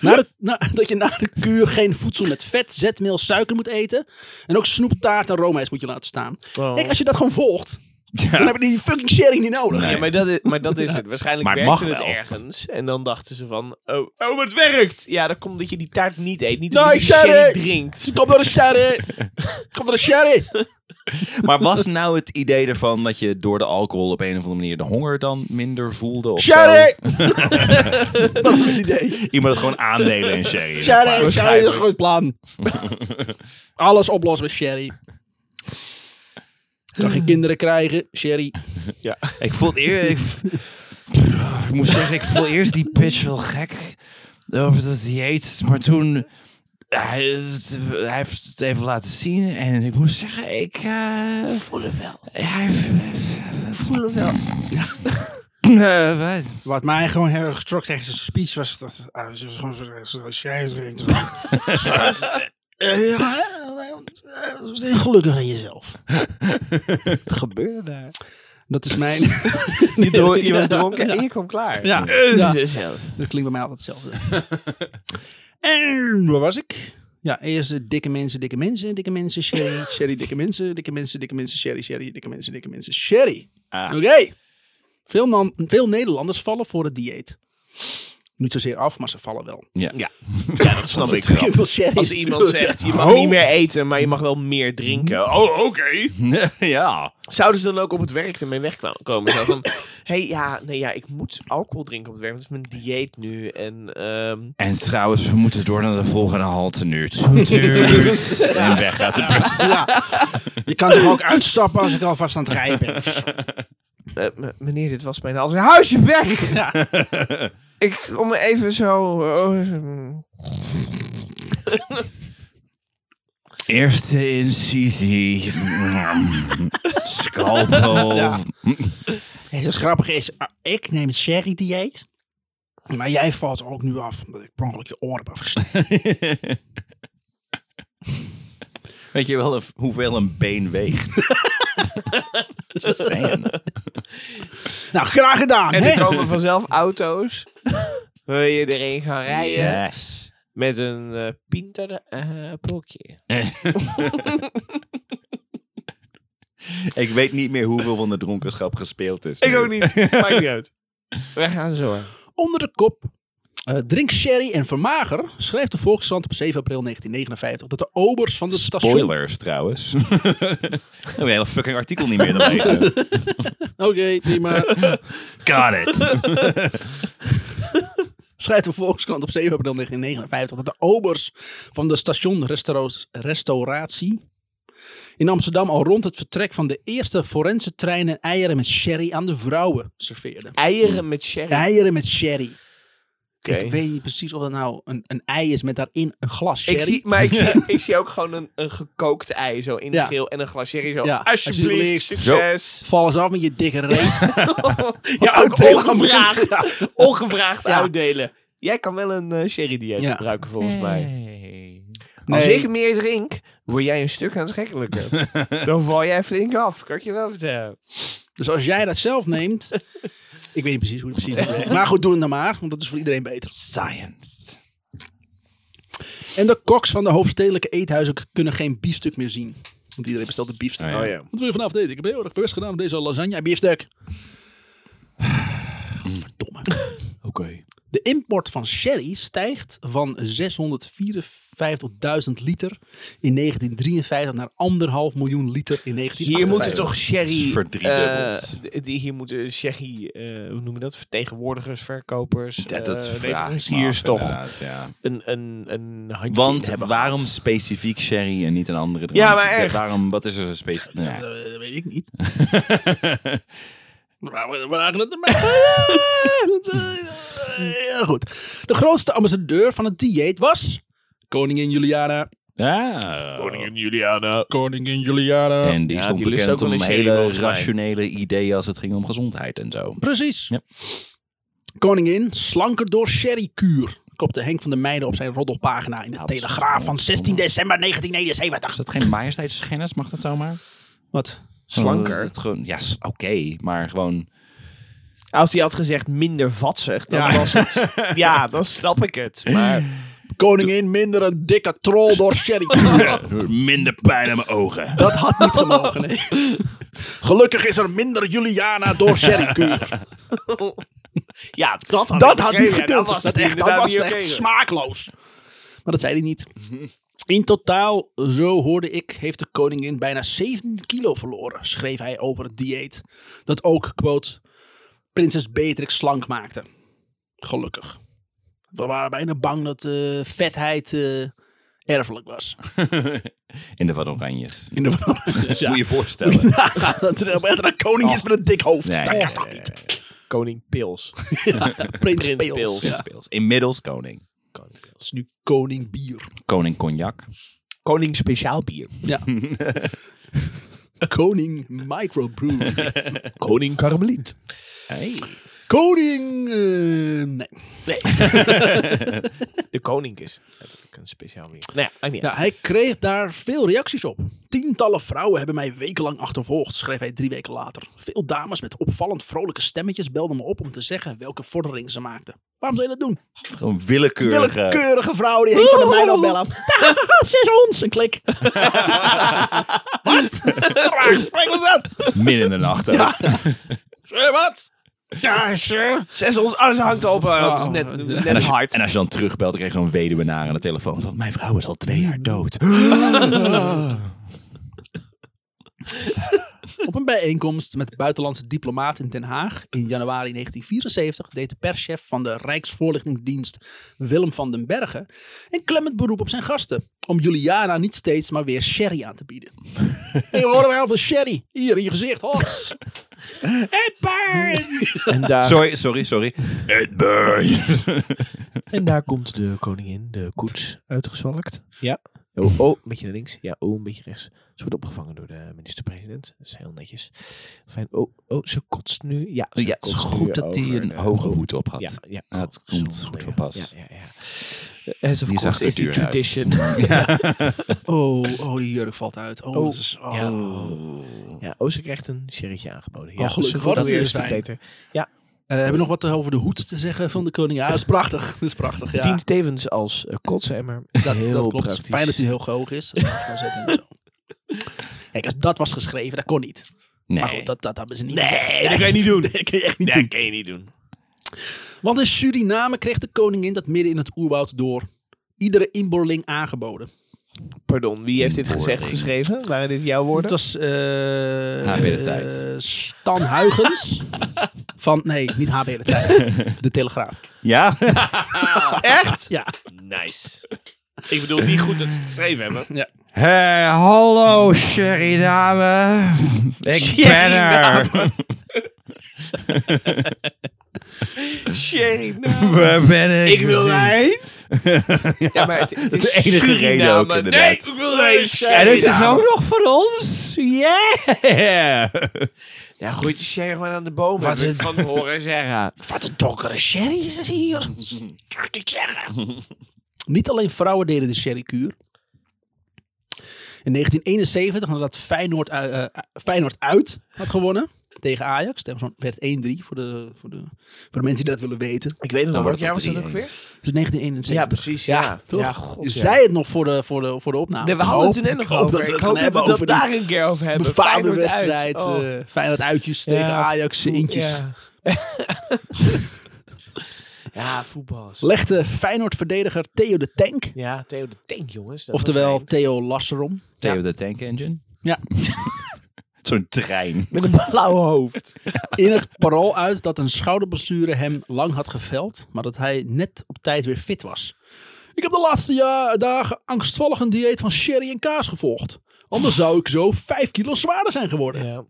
[SPEAKER 1] Naar de- na- dat je na de kuur geen voedsel met vet, zetmeel, suiker moet eten. En ook snoeptaart en roomijs moet je laten staan.
[SPEAKER 3] Oh.
[SPEAKER 1] Kijk, als je dat gewoon volgt, dan heb je die fucking sharing niet nodig.
[SPEAKER 3] Ja, maar dat is, maar dat is het. Waarschijnlijk
[SPEAKER 2] Maar het
[SPEAKER 3] werkte
[SPEAKER 2] mag
[SPEAKER 3] het
[SPEAKER 2] wel.
[SPEAKER 3] ergens. En dan dachten ze van... Oh, oh het werkt! Ja, dat komt dat je die taart niet eet. Niet
[SPEAKER 1] Nee,
[SPEAKER 3] omdat je
[SPEAKER 1] sorry.
[SPEAKER 3] sherry drinkt.
[SPEAKER 1] Kom door de sherry. Kom door de sherry.
[SPEAKER 2] Maar was nou het idee ervan dat je door de alcohol op een of andere manier de honger dan minder voelde? Of
[SPEAKER 1] Sherry. dat was het idee.
[SPEAKER 2] zo? Iemand het gewoon aandelen in sherry. in
[SPEAKER 1] Sherry,
[SPEAKER 2] een paar-
[SPEAKER 1] sherry is een goed plan. Alles oplossen met sherry. Kan geen kinderen krijgen, sherry.
[SPEAKER 2] Ik voel eer, ik, ik moet zeggen, ik voel eerst die pitch wel gek over dat dieet. Maar toen hij, hij heeft het even laten zien en ik moet zeggen, ik voel het wel. Hij voel het wel. Ja.
[SPEAKER 1] Wat mij gewoon heel erg strok tegen zijn speech was dat ah, ze was gewoon zo- zo- sherry drinkt. Heel Eh, gelukkig aan jezelf.
[SPEAKER 3] Wat gebeurde daar?
[SPEAKER 1] Dat is mijn.
[SPEAKER 3] Je, dro- je was dronken en je kwam klaar.
[SPEAKER 1] Ja.
[SPEAKER 3] Eh,
[SPEAKER 1] Ja.
[SPEAKER 3] zelf.
[SPEAKER 1] Dat klinkt bij mij altijd hetzelfde. en waar was ik? Ja, eerst eh, dikke mensen, dikke mensen, dikke mensen, sherry, sherry, dikke mensen, dikke mensen, dikke mensen, sherry, sherry, dikke mensen, dikke mensen, sherry. Oké. Veel, nam- veel Nederlanders vallen voor het dieet. Niet zozeer af, maar ze vallen wel.
[SPEAKER 2] ja,
[SPEAKER 3] Ja, dat snap ik wel.
[SPEAKER 1] Heel veel sherry.
[SPEAKER 3] Als iemand zegt, je mag
[SPEAKER 1] Oh.
[SPEAKER 3] niet meer eten, maar je mag wel meer drinken. Oh, oké.
[SPEAKER 2] ja.
[SPEAKER 3] Zouden ze dan ook op het werk ermee wegkomen? Zo van, hey, ja, nee, ja, ik moet alcohol drinken op het werk, want het is mijn dieet nu. En, ehm,
[SPEAKER 2] En trouwens, we moeten door naar de volgende halte nu. Toeters. En weg gaat de bus.
[SPEAKER 1] Ja. Je kan toch ook uitstappen als ik alvast aan het rijden ben.
[SPEAKER 3] eh, m- meneer, dit was mijn hals. Huisje weg! Ik kom even zo... oh,
[SPEAKER 2] Eerste incisie. Scalpel.
[SPEAKER 1] Het is grappig is, ah, ik neem het sherry dieet. Maar jij valt ook nu af omdat ik per ongeluk je oren heb afgesneden.
[SPEAKER 2] Weet je wel of- hoeveel een been weegt? Just saying.
[SPEAKER 1] Nou, graag gedaan.
[SPEAKER 3] En
[SPEAKER 1] hè?
[SPEAKER 3] er komen vanzelf auto's waar je erin gaan rijden
[SPEAKER 2] Yes.
[SPEAKER 3] met een eh pinter eh, pookje.
[SPEAKER 2] Ik weet niet meer hoeveel van de dronkenschap gespeeld is.
[SPEAKER 3] Ik ook niet, maakt niet uit. We gaan zo.
[SPEAKER 1] Onder de kop. eh, drink sherry en vermager, schreef de Volkskrant op 7 april 1959 dat de obers van het station...
[SPEAKER 5] Spoilers trouwens. Dan heb je een hele fucking artikel niet meer dan lezen.
[SPEAKER 1] Oké, prima.
[SPEAKER 5] Got it.
[SPEAKER 1] schrijft de Volkskrant op 7 april 1959 dat de obers van de stationrestauratie in Amsterdam al rond het vertrek van de eerste forense treinen eieren met sherry aan de vrouwen serveerden.
[SPEAKER 3] Eieren met sherry.
[SPEAKER 1] Eieren met sherry.
[SPEAKER 3] Oké.
[SPEAKER 1] Ik weet niet precies of dat nou een, een ei is met daarin een glas sherry.
[SPEAKER 3] Ik zie, maar ik zie, ik zie ook gewoon een, een gekookt ei zo in de
[SPEAKER 1] Ja.
[SPEAKER 3] schil en een glas sherry zo.
[SPEAKER 1] Ja,
[SPEAKER 3] Alsjeblieft,
[SPEAKER 1] alsjeblieft.
[SPEAKER 3] succes.
[SPEAKER 1] Val eens af met je dikke reet.
[SPEAKER 3] Ja, ook
[SPEAKER 1] uitdelen aan
[SPEAKER 3] ongevraagd, ongevraagd
[SPEAKER 1] Ja.
[SPEAKER 3] uitdelen. Jij kan wel een eh sherry dieet
[SPEAKER 1] Ja.
[SPEAKER 3] gebruiken volgens mij.
[SPEAKER 2] Hey.
[SPEAKER 3] Als
[SPEAKER 1] Nee.
[SPEAKER 3] ik meer drink, word jij een stuk aantrekkelijker. Dan val jij flink af, kan ik je wel vertellen.
[SPEAKER 1] Dus als jij dat zelf neemt. ik weet niet precies hoe het precies werkt. Maar goed, doe het dan maar, want dat is voor iedereen beter.
[SPEAKER 2] Science.
[SPEAKER 1] En de koks van de hoofdstedelijke eethuizen k- kunnen geen biefstuk meer zien. Want iedereen bestelt een biefstuk.
[SPEAKER 5] Oh ja. Oh ja.
[SPEAKER 1] Wat wil je vanavond eten? Ik heb heel erg mijn best gedaan met deze lasagne en biefstuk. Verdomme.
[SPEAKER 5] Oké.
[SPEAKER 1] De import van sherry stijgt van 654.000 liter in 1953 naar 1,5 miljoen liter in 1958.
[SPEAKER 3] Hier moeten toch
[SPEAKER 5] is
[SPEAKER 3] sherry...
[SPEAKER 5] verdriedubbeld.
[SPEAKER 3] eh, d- die, hier moeten sherry, eh, hoe noem je dat? Vertegenwoordigers, verkopers,
[SPEAKER 5] Ja, dat
[SPEAKER 3] eh,
[SPEAKER 5] vraag ik me
[SPEAKER 3] leveranciers
[SPEAKER 5] af,
[SPEAKER 3] toch
[SPEAKER 5] inderdaad, Ja.
[SPEAKER 3] een, een, een handje in
[SPEAKER 2] Want
[SPEAKER 3] hebben
[SPEAKER 2] waarom
[SPEAKER 3] gehad.
[SPEAKER 2] specifiek sherry en niet een andere drank?
[SPEAKER 3] Ja, maar
[SPEAKER 2] Ik denk,
[SPEAKER 3] echt.
[SPEAKER 2] Waarom, wat is er specifiek?
[SPEAKER 1] Ja,
[SPEAKER 2] Nou,
[SPEAKER 1] dat, dat weet ik niet. Maar we waren het ermee. Dat, eh, ja, goed. De grootste ambassadeur van het dieet was. Koningin Juliana.
[SPEAKER 2] ja.
[SPEAKER 3] Koningin Juliana.
[SPEAKER 1] Koningin Juliana.
[SPEAKER 2] En die
[SPEAKER 3] Ja,
[SPEAKER 2] stond
[SPEAKER 3] die lust ook
[SPEAKER 2] bekend
[SPEAKER 3] wel
[SPEAKER 2] om
[SPEAKER 3] een sherry
[SPEAKER 2] hele
[SPEAKER 3] volgens mij.
[SPEAKER 2] rationele ideeën als het ging om gezondheid en zo.
[SPEAKER 1] Precies.
[SPEAKER 2] Ja.
[SPEAKER 1] Koningin, slanker door sherrykuur. Kopte Henk van der Meijden op zijn roddelpagina in
[SPEAKER 2] Nou,
[SPEAKER 1] de Telegraaf van 16 december
[SPEAKER 2] Is
[SPEAKER 1] 1979.
[SPEAKER 2] dat geen majesteitsschennis? Mag dat zomaar?
[SPEAKER 1] Wat?
[SPEAKER 3] Slanker.
[SPEAKER 2] Oh, dat het gewoon, ja, s- oké. maar gewoon...
[SPEAKER 3] Als hij had gezegd minder vatzig, dan
[SPEAKER 1] Ja.
[SPEAKER 3] was het... Ja, dan snap ik het. Maar
[SPEAKER 1] Koningin, minder een dikke troll door sherrykuur.
[SPEAKER 2] eh, Minder pijn aan mijn ogen.
[SPEAKER 1] Dat had niet gemogen, nee. Gelukkig is er minder Juliana door sherrykuur.
[SPEAKER 3] ja, dat had,
[SPEAKER 1] Dat
[SPEAKER 3] ik
[SPEAKER 1] had
[SPEAKER 3] begrepen.
[SPEAKER 1] niet
[SPEAKER 3] Ja,
[SPEAKER 1] gekund.
[SPEAKER 3] Dat was,
[SPEAKER 1] Dat, echt, dat was echt smaakloos. Maar dat zei hij niet. In totaal, zo hoorde ik, heeft de koningin bijna 17 kilo verloren, schreef hij over het dieet. Dat ook, quote, prinses Beatrix slank maakte. Gelukkig. We waren bijna bang dat eh, vetheid eh, erfelijk was.
[SPEAKER 2] In de Van Oranjes.
[SPEAKER 1] In de dus ja.
[SPEAKER 2] Moet je je voorstellen.
[SPEAKER 1] Ja, dat er echt een koning is met een dik hoofd.
[SPEAKER 2] Nee,
[SPEAKER 1] dat
[SPEAKER 2] ja,
[SPEAKER 1] kan toch niet?
[SPEAKER 3] Koning Pils.
[SPEAKER 1] Prins,
[SPEAKER 3] Prins
[SPEAKER 1] Pils.
[SPEAKER 3] Pils.
[SPEAKER 1] Ja.
[SPEAKER 2] Speels. Inmiddels koning.
[SPEAKER 1] Dat is nu koning bier.
[SPEAKER 2] Koning cognac.
[SPEAKER 3] Koning Speciaal Bier.
[SPEAKER 1] Ja. Koning Microbrew.
[SPEAKER 3] Koning Karmeliet.
[SPEAKER 2] Hey.
[SPEAKER 1] Koning. eh, nee.
[SPEAKER 3] De koning is natuurlijk een speciaal bier. Nou ja, maakt niet
[SPEAKER 1] Ja,
[SPEAKER 3] uit.
[SPEAKER 1] hij kreeg daar veel reacties op. Tientallen vrouwen hebben mij wekenlang achtervolgd, schreef hij drie weken later. Veel dames met opvallend vrolijke stemmetjes belden me op om te zeggen welke vordering ze maakten. Waarom zou je dat doen?
[SPEAKER 2] Gewoon willekeurige.
[SPEAKER 1] Willekeurige vrouw die Henk van de Meijden opbellen. Zes ons, een klik. Wat? Raar gesprek was dat?
[SPEAKER 2] Midden in de nacht. ook.
[SPEAKER 1] Eh, Wat? Ja, sure.
[SPEAKER 3] Zes ons, alles hangt op. eh,
[SPEAKER 1] Oh.
[SPEAKER 3] dat is net,
[SPEAKER 1] En
[SPEAKER 3] net hard.
[SPEAKER 2] En als je dan terugbelt, krijg je zo'n weduwenaar aan de telefoon. Want mijn vrouw is al twee jaar dood.
[SPEAKER 1] Op een bijeenkomst met buitenlandse diplomaten in Den Haag in januari 1974 deed de perschef van de Rijksvoorlichtingsdienst Willem van den Bergen een klemmend beroep op zijn gasten om Juliana niet steeds maar weer sherry aan te bieden. Hey, we horen wel veel sherry. Hier in je gezicht. Hots. Het burns.
[SPEAKER 3] En daar,
[SPEAKER 2] Sorry, sorry, sorry. It burns.
[SPEAKER 3] en daar komt de koningin, de koets, uitgezwalkt. Ja. Oh, oh, een beetje naar links. Ja, oh, een beetje rechts. Ze wordt opgevangen door de minister-president. Dat is heel netjes. Fijn. Oh, oh, ze kotst nu. Ja, ze
[SPEAKER 2] Ja, het is
[SPEAKER 3] kotst nu
[SPEAKER 2] goed dat hij
[SPEAKER 3] over
[SPEAKER 2] een
[SPEAKER 3] de-
[SPEAKER 2] hoge hoed op had.
[SPEAKER 3] Ja, ja.
[SPEAKER 2] Ja, het
[SPEAKER 3] Oh,
[SPEAKER 2] komt
[SPEAKER 3] zonde,
[SPEAKER 2] goed
[SPEAKER 3] ja.
[SPEAKER 2] van pas.
[SPEAKER 3] Ja, ja, ja. Eh, As of
[SPEAKER 2] Die zag
[SPEAKER 3] course
[SPEAKER 2] er
[SPEAKER 3] is the
[SPEAKER 2] duur uit.
[SPEAKER 3] tradition.
[SPEAKER 1] Oh, oh, die jurk valt uit. Oh,
[SPEAKER 3] Oh.
[SPEAKER 1] dat is- oh.
[SPEAKER 3] Ja. Ja, oh, ze krijgt een sherrytje aangeboden. Ja,
[SPEAKER 1] Oh, gelukkig.
[SPEAKER 3] ze wordt
[SPEAKER 1] Dat
[SPEAKER 3] weer een
[SPEAKER 1] is
[SPEAKER 3] stuk
[SPEAKER 1] fijn.
[SPEAKER 3] beter.
[SPEAKER 1] Eh, hebben we nog wat over de hoed te zeggen van de koning? Ja, dat is prachtig. Dat is prachtig, ja.
[SPEAKER 3] Dient tevens als eh, kotsemmer. Is
[SPEAKER 1] Dat,
[SPEAKER 3] heel
[SPEAKER 1] dat klopt.
[SPEAKER 3] praktisch.
[SPEAKER 1] Fijn dat hij heel hoog is. Dat is wel afgezet en zo. Kijk, als dat was geschreven, dat kon niet. Maar
[SPEAKER 2] Nee.
[SPEAKER 1] goed, dat, dat hebben ze niet
[SPEAKER 3] Nee,
[SPEAKER 1] gezegd.
[SPEAKER 3] dat kan je niet doen.
[SPEAKER 1] dat kan je echt niet
[SPEAKER 3] Ja,
[SPEAKER 1] doen.
[SPEAKER 3] kan je niet doen.
[SPEAKER 1] Want in Suriname kreeg de koningin dat midden in het oerwoud door iedere inboorling aangeboden.
[SPEAKER 3] Pardon, wie heeft dit gezegd, geschreven? Waren dit jouw
[SPEAKER 1] Het
[SPEAKER 3] woorden?
[SPEAKER 1] was eh,
[SPEAKER 5] HB De
[SPEAKER 1] eh,
[SPEAKER 5] Tijd.
[SPEAKER 1] Stan Huygens van, nee, niet HB De Tijd, De Telegraaf.
[SPEAKER 5] Ja?
[SPEAKER 3] Echt?
[SPEAKER 1] Ja,
[SPEAKER 3] Nice. Ik bedoel, niet goed dat ze het geschreven hebben.
[SPEAKER 2] Hé, hallo, Sheridame. Ik ben er.
[SPEAKER 3] Sherry,
[SPEAKER 2] Waar ben ik?
[SPEAKER 3] nou. Ik wil
[SPEAKER 2] precies?
[SPEAKER 3] wijn. Ja, maar het, het is
[SPEAKER 5] De enige reden
[SPEAKER 3] Suriname.
[SPEAKER 5] ook,
[SPEAKER 3] Nee,
[SPEAKER 5] inderdaad.
[SPEAKER 3] ik wil wijn.
[SPEAKER 2] En dit is
[SPEAKER 3] Suriname.
[SPEAKER 2] ook nog van ons. Yeah.
[SPEAKER 3] Ja, groeit de sherry gewoon aan de boom. Wat
[SPEAKER 1] is
[SPEAKER 3] is van horen zeggen.
[SPEAKER 1] Wat een donkere sherry is het hier. Niet alleen vrouwen deden de sherrykuur. In 1971, nadat Feyenoord, u- eh, Feyenoord uit had gewonnen tegen Ajax. Het werd 1-3 voor de, voor, de, voor de mensen die dat willen weten.
[SPEAKER 3] Ik weet het nog.
[SPEAKER 5] wordt
[SPEAKER 3] Welk
[SPEAKER 5] het
[SPEAKER 3] jaar was dat ook
[SPEAKER 5] 3-1.
[SPEAKER 3] weer?
[SPEAKER 1] Dus 1971.
[SPEAKER 3] Ja, precies. Ja,
[SPEAKER 1] Toch?
[SPEAKER 3] Ja, god,
[SPEAKER 1] Je
[SPEAKER 3] ja.
[SPEAKER 1] zei het nog voor de, voor de, voor de opname.
[SPEAKER 3] Nee, we
[SPEAKER 1] Ik
[SPEAKER 3] hadden
[SPEAKER 1] hoop-
[SPEAKER 3] het er net nog
[SPEAKER 1] ik hoop
[SPEAKER 3] over.
[SPEAKER 1] dat we
[SPEAKER 3] ik
[SPEAKER 1] het
[SPEAKER 3] hoop
[SPEAKER 1] gaan
[SPEAKER 3] dat we
[SPEAKER 1] hebben
[SPEAKER 3] dat
[SPEAKER 1] over die
[SPEAKER 3] daar een keer over hebben.
[SPEAKER 1] befaamde
[SPEAKER 3] Feyenoord uit.
[SPEAKER 1] wedstrijd. eh
[SPEAKER 3] Oh.
[SPEAKER 1] Feyenoord uitjes
[SPEAKER 3] Ja,
[SPEAKER 1] tegen Ajax
[SPEAKER 3] voet-
[SPEAKER 1] eentjes.
[SPEAKER 3] Ja. ja, voetbal. is-
[SPEAKER 1] Legde Feyenoord-verdediger Theo de Tank.
[SPEAKER 3] Ja, Theo de Tank, jongens. dat was
[SPEAKER 1] Oftewel
[SPEAKER 3] een-
[SPEAKER 1] Theo Lasserom.
[SPEAKER 5] Theo de Tank Engine?
[SPEAKER 1] Ja.
[SPEAKER 5] Zo'n trein.
[SPEAKER 3] Met een blauw hoofd.
[SPEAKER 1] In het parool uit dat een schouderblessure hem lang had geveld, maar dat hij net op tijd weer fit was. Ik heb de laatste ja- dagen angstvallig een dieet van sherry en kaas gevolgd. Anders zou ik zo vijf kilo zwaarder zijn geworden.
[SPEAKER 3] Ja.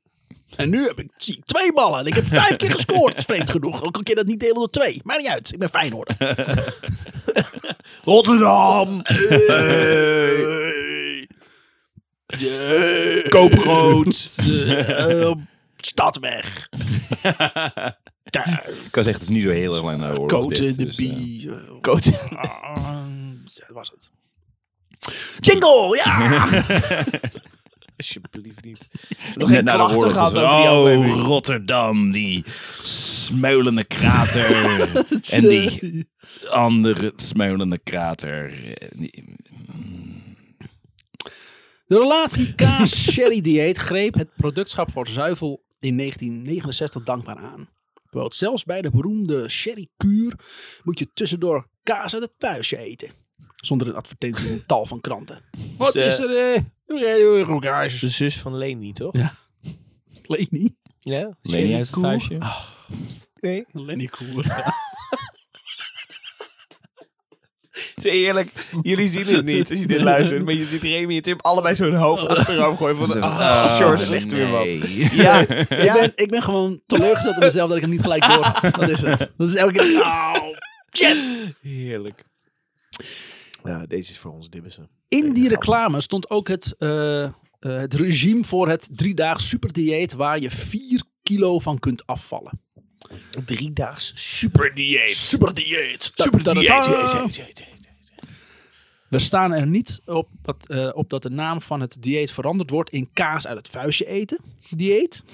[SPEAKER 1] En nu heb ik zie ik twee ballen en ik heb vijf keer gescoord. Vreemd genoeg, ook een keer dat niet delen door twee. Maar niet uit, ik ben Feyenoord.
[SPEAKER 3] Rotterdam!
[SPEAKER 1] Koopgroot. eh, eh, Stadweg. Ja,
[SPEAKER 5] Ik kan zeggen, het is niet zo heel erg lang naar oorlog
[SPEAKER 1] Cote
[SPEAKER 5] dit,
[SPEAKER 1] de
[SPEAKER 5] dus, eh.
[SPEAKER 1] Bie. eh, Ah, dat was het. Jingle, ja!
[SPEAKER 3] Alsjeblieft niet.
[SPEAKER 5] Nog
[SPEAKER 3] geen klachten gehad
[SPEAKER 5] dus,
[SPEAKER 3] over die
[SPEAKER 5] Oh,
[SPEAKER 3] aflevering.
[SPEAKER 5] Rotterdam, die smeulende krater. en die andere smeulende krater. Eh, die-
[SPEAKER 1] De relatie kaas-sherry-dieet greep het productschap voor zuivel in 1969 dankbaar aan. Quote, zelfs bij de beroemde sherry-kuur moet je tussendoor kaas uit het puistje eten. Zonder een advertentie in een tal van kranten. Wat
[SPEAKER 3] eh,
[SPEAKER 1] is er? eh? Heel erg goed kaas.
[SPEAKER 3] De zus van Leni, toch?
[SPEAKER 1] Lenny.
[SPEAKER 3] Ja?
[SPEAKER 5] Lenny uit het
[SPEAKER 3] Cool.
[SPEAKER 5] vuistje?
[SPEAKER 3] Nee.
[SPEAKER 1] Lenny Koer.
[SPEAKER 3] Zeg eerlijk, jullie zien het niet als je dit luistert. Maar je ziet Remy en Tim allebei zo'n hoofd achterover gooien. Van, ah, George ligt weer wat.
[SPEAKER 5] Ja.
[SPEAKER 1] Ik, ben, ik ben gewoon teleurgesteld in mezelf dat ik hem niet gelijk door had. Dat is het. Dat is elke keer. Oh, yes!
[SPEAKER 3] Heerlijk. Nou, deze is voor ons dibbissen.
[SPEAKER 1] In die reclame stond ook het, eh, eh, het regime voor het driedaags superdieet waar je 4 kilo van kunt afvallen.
[SPEAKER 3] Driedaags super dieet.
[SPEAKER 1] Superdieet! We staan er niet op dat, eh, op dat de naam van het dieet veranderd wordt in kaas uit het vuistje eten dieet.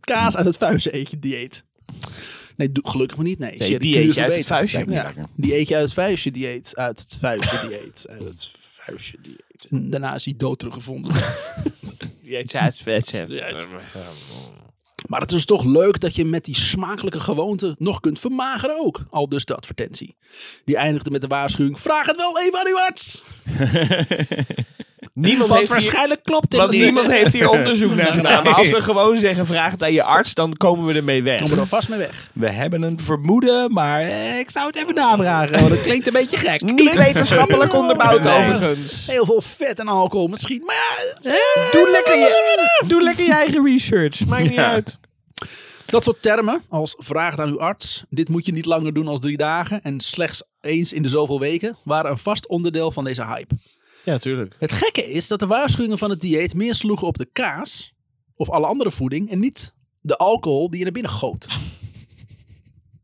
[SPEAKER 1] Kaas uit het vuistje eten dieet. Nee, doe- gelukkig maar niet. Nee, Sherry, kun je
[SPEAKER 3] dieetje uit het
[SPEAKER 1] verbeteren.
[SPEAKER 3] vuistje.
[SPEAKER 1] Ja, die eet je uit het vuistje dieet. Uit het vuistje dieet. Uit het vuistje dieet. En daarna is hij dood teruggevonden.
[SPEAKER 3] Dieet uit vet.
[SPEAKER 1] Maar het is toch leuk dat je met die smakelijke gewoonte nog kunt vermageren ook. Al dus de advertentie. Die eindigde met de waarschuwing. Vraag het wel even aan uw arts.
[SPEAKER 3] Niemand
[SPEAKER 1] Want
[SPEAKER 3] heeft hier...
[SPEAKER 1] waarschijnlijk klopt het
[SPEAKER 3] Want
[SPEAKER 1] niet.
[SPEAKER 3] niemand heeft hier onderzoek naar gedaan. Maar als we gewoon zeggen, vraag het aan je arts, dan komen we ermee
[SPEAKER 1] Kom er
[SPEAKER 3] weg.
[SPEAKER 1] dan vast mee weg.
[SPEAKER 5] We hebben een vermoeden, maar eh, ik zou het even
[SPEAKER 3] Nou,
[SPEAKER 5] navragen.
[SPEAKER 1] Oh,
[SPEAKER 5] Want het klinkt een beetje gek.
[SPEAKER 3] Niet wetenschappelijk onderbouwd
[SPEAKER 1] Nee.
[SPEAKER 3] overigens.
[SPEAKER 1] Heel veel vet en alcohol misschien. Maar ja, het-
[SPEAKER 3] Doe lekker, je, doe lekker je eigen research. Maakt niet uit.
[SPEAKER 1] Dat soort termen als vraag het aan uw arts, dit moet je niet langer doen als drie dagen en slechts eens in de zoveel weken, waren een vast onderdeel van deze hype.
[SPEAKER 3] Ja, tuurlijk.
[SPEAKER 1] Het gekke is dat de waarschuwingen van het dieet meer sloegen op de kaas of alle andere voeding en niet de alcohol die je naar binnen goot.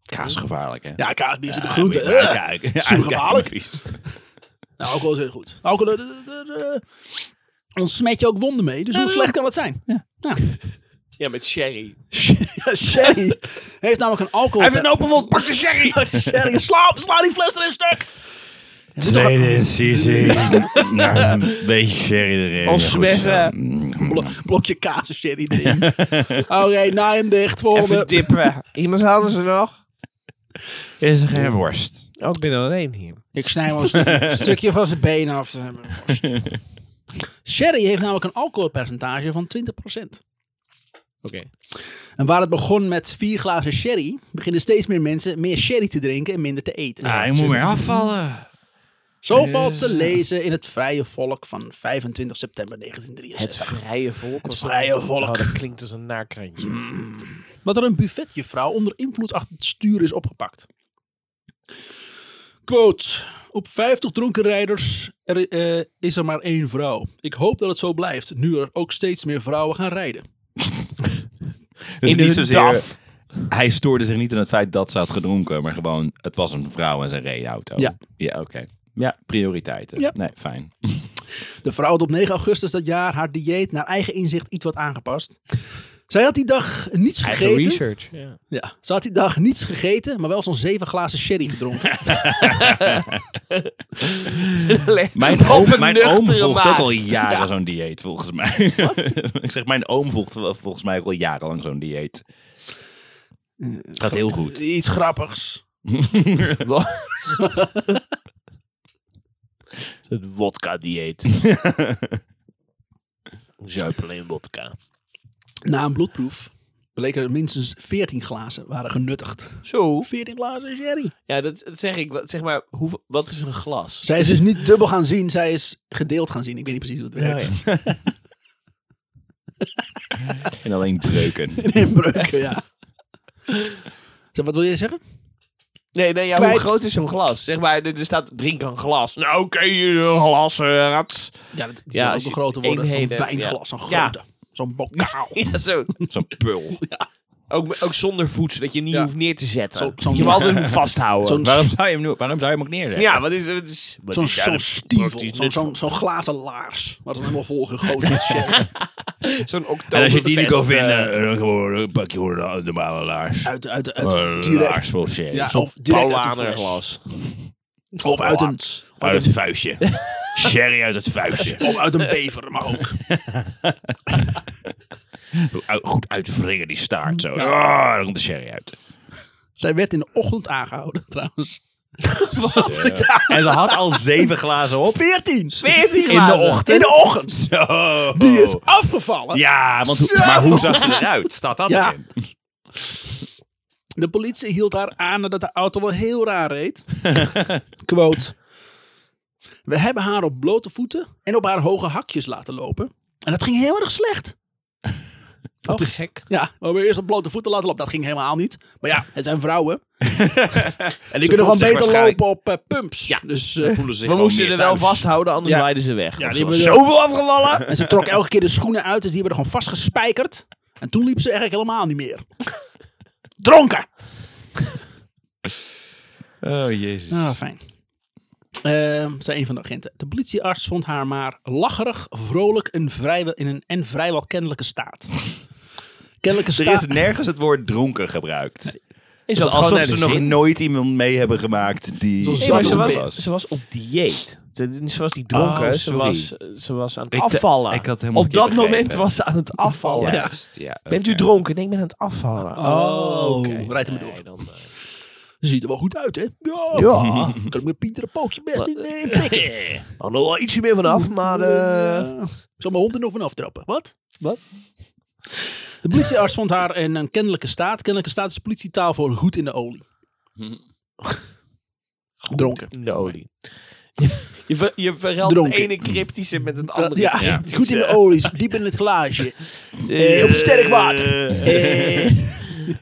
[SPEAKER 5] Kaas is gevaarlijk, hè?
[SPEAKER 1] Ja, kaas, bier zit de
[SPEAKER 5] Moet
[SPEAKER 1] groente.
[SPEAKER 5] je maar
[SPEAKER 1] eh.
[SPEAKER 5] uitkijken.
[SPEAKER 1] super gevaarlijk.
[SPEAKER 5] Uitkijken.
[SPEAKER 1] Nou, alcohol is heel goed. Alcohol, eh, eh, eh, eh, ons smet je ook wonden mee, dus hoe slecht kan het zijn? Ja.
[SPEAKER 3] Ja, met sherry.
[SPEAKER 1] sherry heeft namelijk een alcohol...
[SPEAKER 3] Even een open wond, pak de sherry!
[SPEAKER 1] Sherry, sla, sla die fles erin stuk!
[SPEAKER 2] Tweede incisie. Nou, een beetje sherry erin.
[SPEAKER 3] Ons
[SPEAKER 2] Ja, goed zo.
[SPEAKER 3] smetten.
[SPEAKER 5] Mm,
[SPEAKER 1] Blo- blokje kaas en sherry erin. Oké, naai hem dicht,
[SPEAKER 3] Even
[SPEAKER 1] volgende.
[SPEAKER 3] dippen. Iemand anders er nog?
[SPEAKER 2] Is er geen worst?
[SPEAKER 3] Oh, ik ben alleen hier.
[SPEAKER 1] Ik snij wel een stukje, een stukje van zijn been af. Dan hebben we een worst. Sherry heeft namelijk een alcoholpercentage van 20%.
[SPEAKER 3] Oké.
[SPEAKER 1] En waar het begon met vier glazen sherry, beginnen steeds meer mensen meer sherry te drinken en minder te eten.
[SPEAKER 2] Ah, ik moet Eh. meer afvallen.
[SPEAKER 1] Zo valt te lezen in het Vrije Volk van 25 september
[SPEAKER 3] Het
[SPEAKER 1] 1963.
[SPEAKER 3] vrije volk. Mm.
[SPEAKER 1] Het vrije volk.
[SPEAKER 3] Oh, dat klinkt als een naarkrantje.
[SPEAKER 1] dat er een buffetjuffrouw onder invloed achter het stuur is opgepakt. Quote. Op 50 dronken rijders er, eh, is er maar één vrouw. Ik hoop dat het zo blijft, nu er ook steeds meer vrouwen gaan rijden.
[SPEAKER 2] Dus
[SPEAKER 3] In
[SPEAKER 2] niet
[SPEAKER 3] een
[SPEAKER 2] zozeer-
[SPEAKER 3] DAF.
[SPEAKER 2] Hij stoorde zich niet aan het feit dat ze had gedronken, maar gewoon het was een vrouw en ze reed een auto.
[SPEAKER 1] Ja.
[SPEAKER 2] Ja, oké. Ja, prioriteiten.
[SPEAKER 1] Ja.
[SPEAKER 2] Nee, fijn.
[SPEAKER 1] De vrouw had op 9 augustus dat jaar haar dieet naar eigen inzicht iets wat aangepast. Zij had die dag niets
[SPEAKER 3] Eigen
[SPEAKER 1] gegeten.
[SPEAKER 3] research. Ja.
[SPEAKER 1] Ja, ze had die dag niets gegeten, maar wel zo'n zeven glazen sherry gedronken.
[SPEAKER 2] Mijn oom,
[SPEAKER 3] een
[SPEAKER 2] mijn oom
[SPEAKER 3] nuchtere
[SPEAKER 2] volgt ook
[SPEAKER 3] maag.
[SPEAKER 2] al jaren zo'n dieet, volgens mij. ik zeg, mijn oom volgt wel- volgens mij ook al jarenlang zo'n dieet.
[SPEAKER 1] Eh,
[SPEAKER 2] Gaat heel goed.
[SPEAKER 1] Iets grappigs. eh,
[SPEAKER 3] Het wodka-dieet. Zuip alleen wodka.
[SPEAKER 1] Na een bloedproef bleek er minstens 14 glazen waren genuttigd.
[SPEAKER 3] Zo.
[SPEAKER 1] 14 glazen sherry.
[SPEAKER 3] Ja, dat, dat zeg ik. Wat- Zeg maar, hoeveel, wat is een glas?
[SPEAKER 1] Zij is dus niet dubbel gaan zien, zij is gedeeld gaan zien. Ik weet niet precies hoe het werkt.
[SPEAKER 2] En alleen breuken.
[SPEAKER 1] In breuken, ja. Zeg, wat wil je zeggen?
[SPEAKER 3] Nee, nee ja, hoe
[SPEAKER 1] Kwijt.
[SPEAKER 3] groot is een glas? Zeg maar, er, er staat drink een glas. Nou, oké, een glas, eh, rats.
[SPEAKER 1] Ja, dat die
[SPEAKER 3] Ja,
[SPEAKER 1] zijn
[SPEAKER 3] als
[SPEAKER 1] ook
[SPEAKER 3] je
[SPEAKER 1] een grote worden. Zo'n
[SPEAKER 3] eenheden-
[SPEAKER 1] wijnglas, zo'n
[SPEAKER 3] Ja.
[SPEAKER 1] grote. Zo'n bokaal.
[SPEAKER 3] Ja, zo.
[SPEAKER 2] Zo'n pul.
[SPEAKER 3] Ook, ook zonder voedsel, dat je hem niet
[SPEAKER 1] Ja.
[SPEAKER 3] hoeft neer te zetten.
[SPEAKER 1] Zo- zo'n-
[SPEAKER 3] je hem altijd moet vasthouden.
[SPEAKER 1] Zo'n
[SPEAKER 2] Waarom zou je hem, nu- waarom zou je hem ook neerzetten?
[SPEAKER 3] ja, wat is het? is- wat
[SPEAKER 1] Zo'n
[SPEAKER 3] is daar
[SPEAKER 1] zo'n
[SPEAKER 3] de
[SPEAKER 1] stievel.
[SPEAKER 3] praktisch
[SPEAKER 1] Zo'n
[SPEAKER 3] nut
[SPEAKER 1] zo'n zo'n glazen laars. Waar ze helemaal volgegooid met sherry.
[SPEAKER 3] van? Zo'n oktoberfest.
[SPEAKER 2] En als je die niet kan
[SPEAKER 3] eh,
[SPEAKER 2] vinden, dan gewoon een pakje hoor, de normale laars.
[SPEAKER 1] Uit, uit, uit,
[SPEAKER 2] Een
[SPEAKER 1] direct,
[SPEAKER 2] laars vol sherry.
[SPEAKER 1] ja,
[SPEAKER 2] Zo'n
[SPEAKER 1] of direct uit een
[SPEAKER 3] Paulaner
[SPEAKER 1] fles.
[SPEAKER 3] glas.
[SPEAKER 1] Of uit een,
[SPEAKER 2] uit het vuistje. sherry uit het vuistje.
[SPEAKER 1] of uit een bever, maar ook.
[SPEAKER 2] Uit- Goed uitwringen die staart zo. Ah, dan komt de sherry uit.
[SPEAKER 1] Zij werd in de ochtend aangehouden, trouwens.
[SPEAKER 2] En ze had al zeven glazen op.
[SPEAKER 1] 14!
[SPEAKER 2] In de ochtend.
[SPEAKER 1] In de ochtend!
[SPEAKER 2] Zo.
[SPEAKER 1] Die is afgevallen.
[SPEAKER 2] Oh. Ja, want hoe-
[SPEAKER 1] Zo.
[SPEAKER 2] maar hoe zag ze eruit? Staat dat
[SPEAKER 1] Ja.
[SPEAKER 2] erin?
[SPEAKER 1] De politie hield haar aan nadat de auto wel heel raar reed. Quote. We hebben haar op blote voeten en op haar hoge hakjes laten lopen. En dat ging heel erg slecht.
[SPEAKER 3] Dat
[SPEAKER 1] Oh,
[SPEAKER 3] is gek.
[SPEAKER 1] Ja, we hebben eerst op blote voeten laten lopen. Dat ging helemaal niet. Maar ja, het zijn vrouwen. en die
[SPEAKER 2] voelt
[SPEAKER 1] kunnen gewoon
[SPEAKER 2] zich
[SPEAKER 1] beter
[SPEAKER 2] waarschijnlijk-
[SPEAKER 1] lopen op eh, pumps. Dus, eh,
[SPEAKER 3] We moesten er wel vasthouden, anders
[SPEAKER 1] Ja.
[SPEAKER 3] waaiden ze weg.
[SPEAKER 2] Ja,
[SPEAKER 3] Of
[SPEAKER 2] die
[SPEAKER 3] zo.
[SPEAKER 2] hebben
[SPEAKER 1] ze-
[SPEAKER 3] zoveel afgevallen.
[SPEAKER 1] en ze trok elke keer de schoenen uit. Dus die werden gewoon vastgespijkerd. En toen liep ze eigenlijk helemaal niet meer. Dronken!
[SPEAKER 2] Oh, jezus.
[SPEAKER 1] Ah, fijn. Ehm zei een van de agenten. De politiearts vond haar maar lacherig, vrolijk en vrijwel, in een, en vrijwel kennelijke staat. Kennelijke
[SPEAKER 2] Er is
[SPEAKER 1] staat.
[SPEAKER 2] nergens het woord dronken gebruikt.
[SPEAKER 3] Is
[SPEAKER 2] Dus
[SPEAKER 3] dat gewoon
[SPEAKER 2] alsof
[SPEAKER 3] naar
[SPEAKER 2] ze
[SPEAKER 3] de
[SPEAKER 2] nog
[SPEAKER 3] zin?
[SPEAKER 2] nooit iemand mee hebben gemaakt die...
[SPEAKER 1] Zoals
[SPEAKER 3] Nee, maar ze
[SPEAKER 1] Zat op
[SPEAKER 3] was,
[SPEAKER 1] een
[SPEAKER 3] ze was op dieet. Ze, ze was niet dronken,
[SPEAKER 2] Oh,
[SPEAKER 3] ze,
[SPEAKER 2] sorry.
[SPEAKER 3] was, ze was aan het
[SPEAKER 2] Ik d-
[SPEAKER 3] afvallen.
[SPEAKER 2] ik had helemaal
[SPEAKER 3] op dat
[SPEAKER 2] verkeerd
[SPEAKER 3] moment
[SPEAKER 2] begrepen.
[SPEAKER 3] was ze aan het afvallen.
[SPEAKER 2] Juist, ja.
[SPEAKER 3] Bent u
[SPEAKER 2] oké.
[SPEAKER 3] dronken? Nee, ik ben aan het afvallen.
[SPEAKER 1] Oh,
[SPEAKER 3] oké.
[SPEAKER 1] rijdt hem
[SPEAKER 3] Nee,
[SPEAKER 1] door.
[SPEAKER 3] dan, eh,
[SPEAKER 1] Ze ziet er wel goed uit, hè? Ja. Kan ik met Pieter een pootje best in eh, prikken.
[SPEAKER 3] Hadden we wel ietsje meer vanaf, maar... eh,
[SPEAKER 1] Ja. Ik zal mijn hond er nog vanaf trappen. Wat?
[SPEAKER 3] Wat?
[SPEAKER 1] De politiearts vond haar in een kennelijke staat. Kennelijke staat is politietaal voor goed in de olie. Dronken.
[SPEAKER 3] in de olie. Je, ver, je verhelpt
[SPEAKER 1] Dronken.
[SPEAKER 3] de ene cryptische met een
[SPEAKER 1] Ja,
[SPEAKER 3] andere.
[SPEAKER 2] Ja.
[SPEAKER 1] goed in de olie. is Diep in het glaasje.
[SPEAKER 3] Eh,
[SPEAKER 1] Eh, op sterk water. Eh,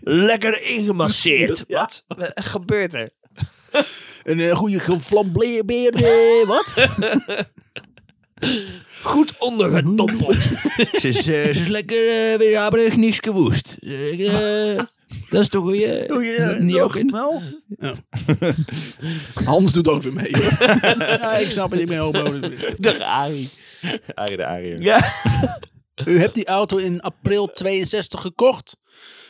[SPEAKER 3] Lekker ingemasseerd.
[SPEAKER 1] Ja.
[SPEAKER 3] Wat? Wat gebeurt er?
[SPEAKER 1] Een eh, goede geflambeerde... eh, Wat?
[SPEAKER 3] Goed ondergedompeld.
[SPEAKER 2] Ze is, eh, ze is lekker eh, weer haberig, niks gewoest. Eh, eh, dat is toch een...
[SPEAKER 1] Doe je
[SPEAKER 2] dat niet ook in?
[SPEAKER 1] wel? Hans doet ook weer mee. hoor. ja, ik snap het, ik ben homo.
[SPEAKER 3] De Ari.
[SPEAKER 2] Arie de Arie.
[SPEAKER 3] Ja.
[SPEAKER 1] U hebt die auto in april 62 gekocht.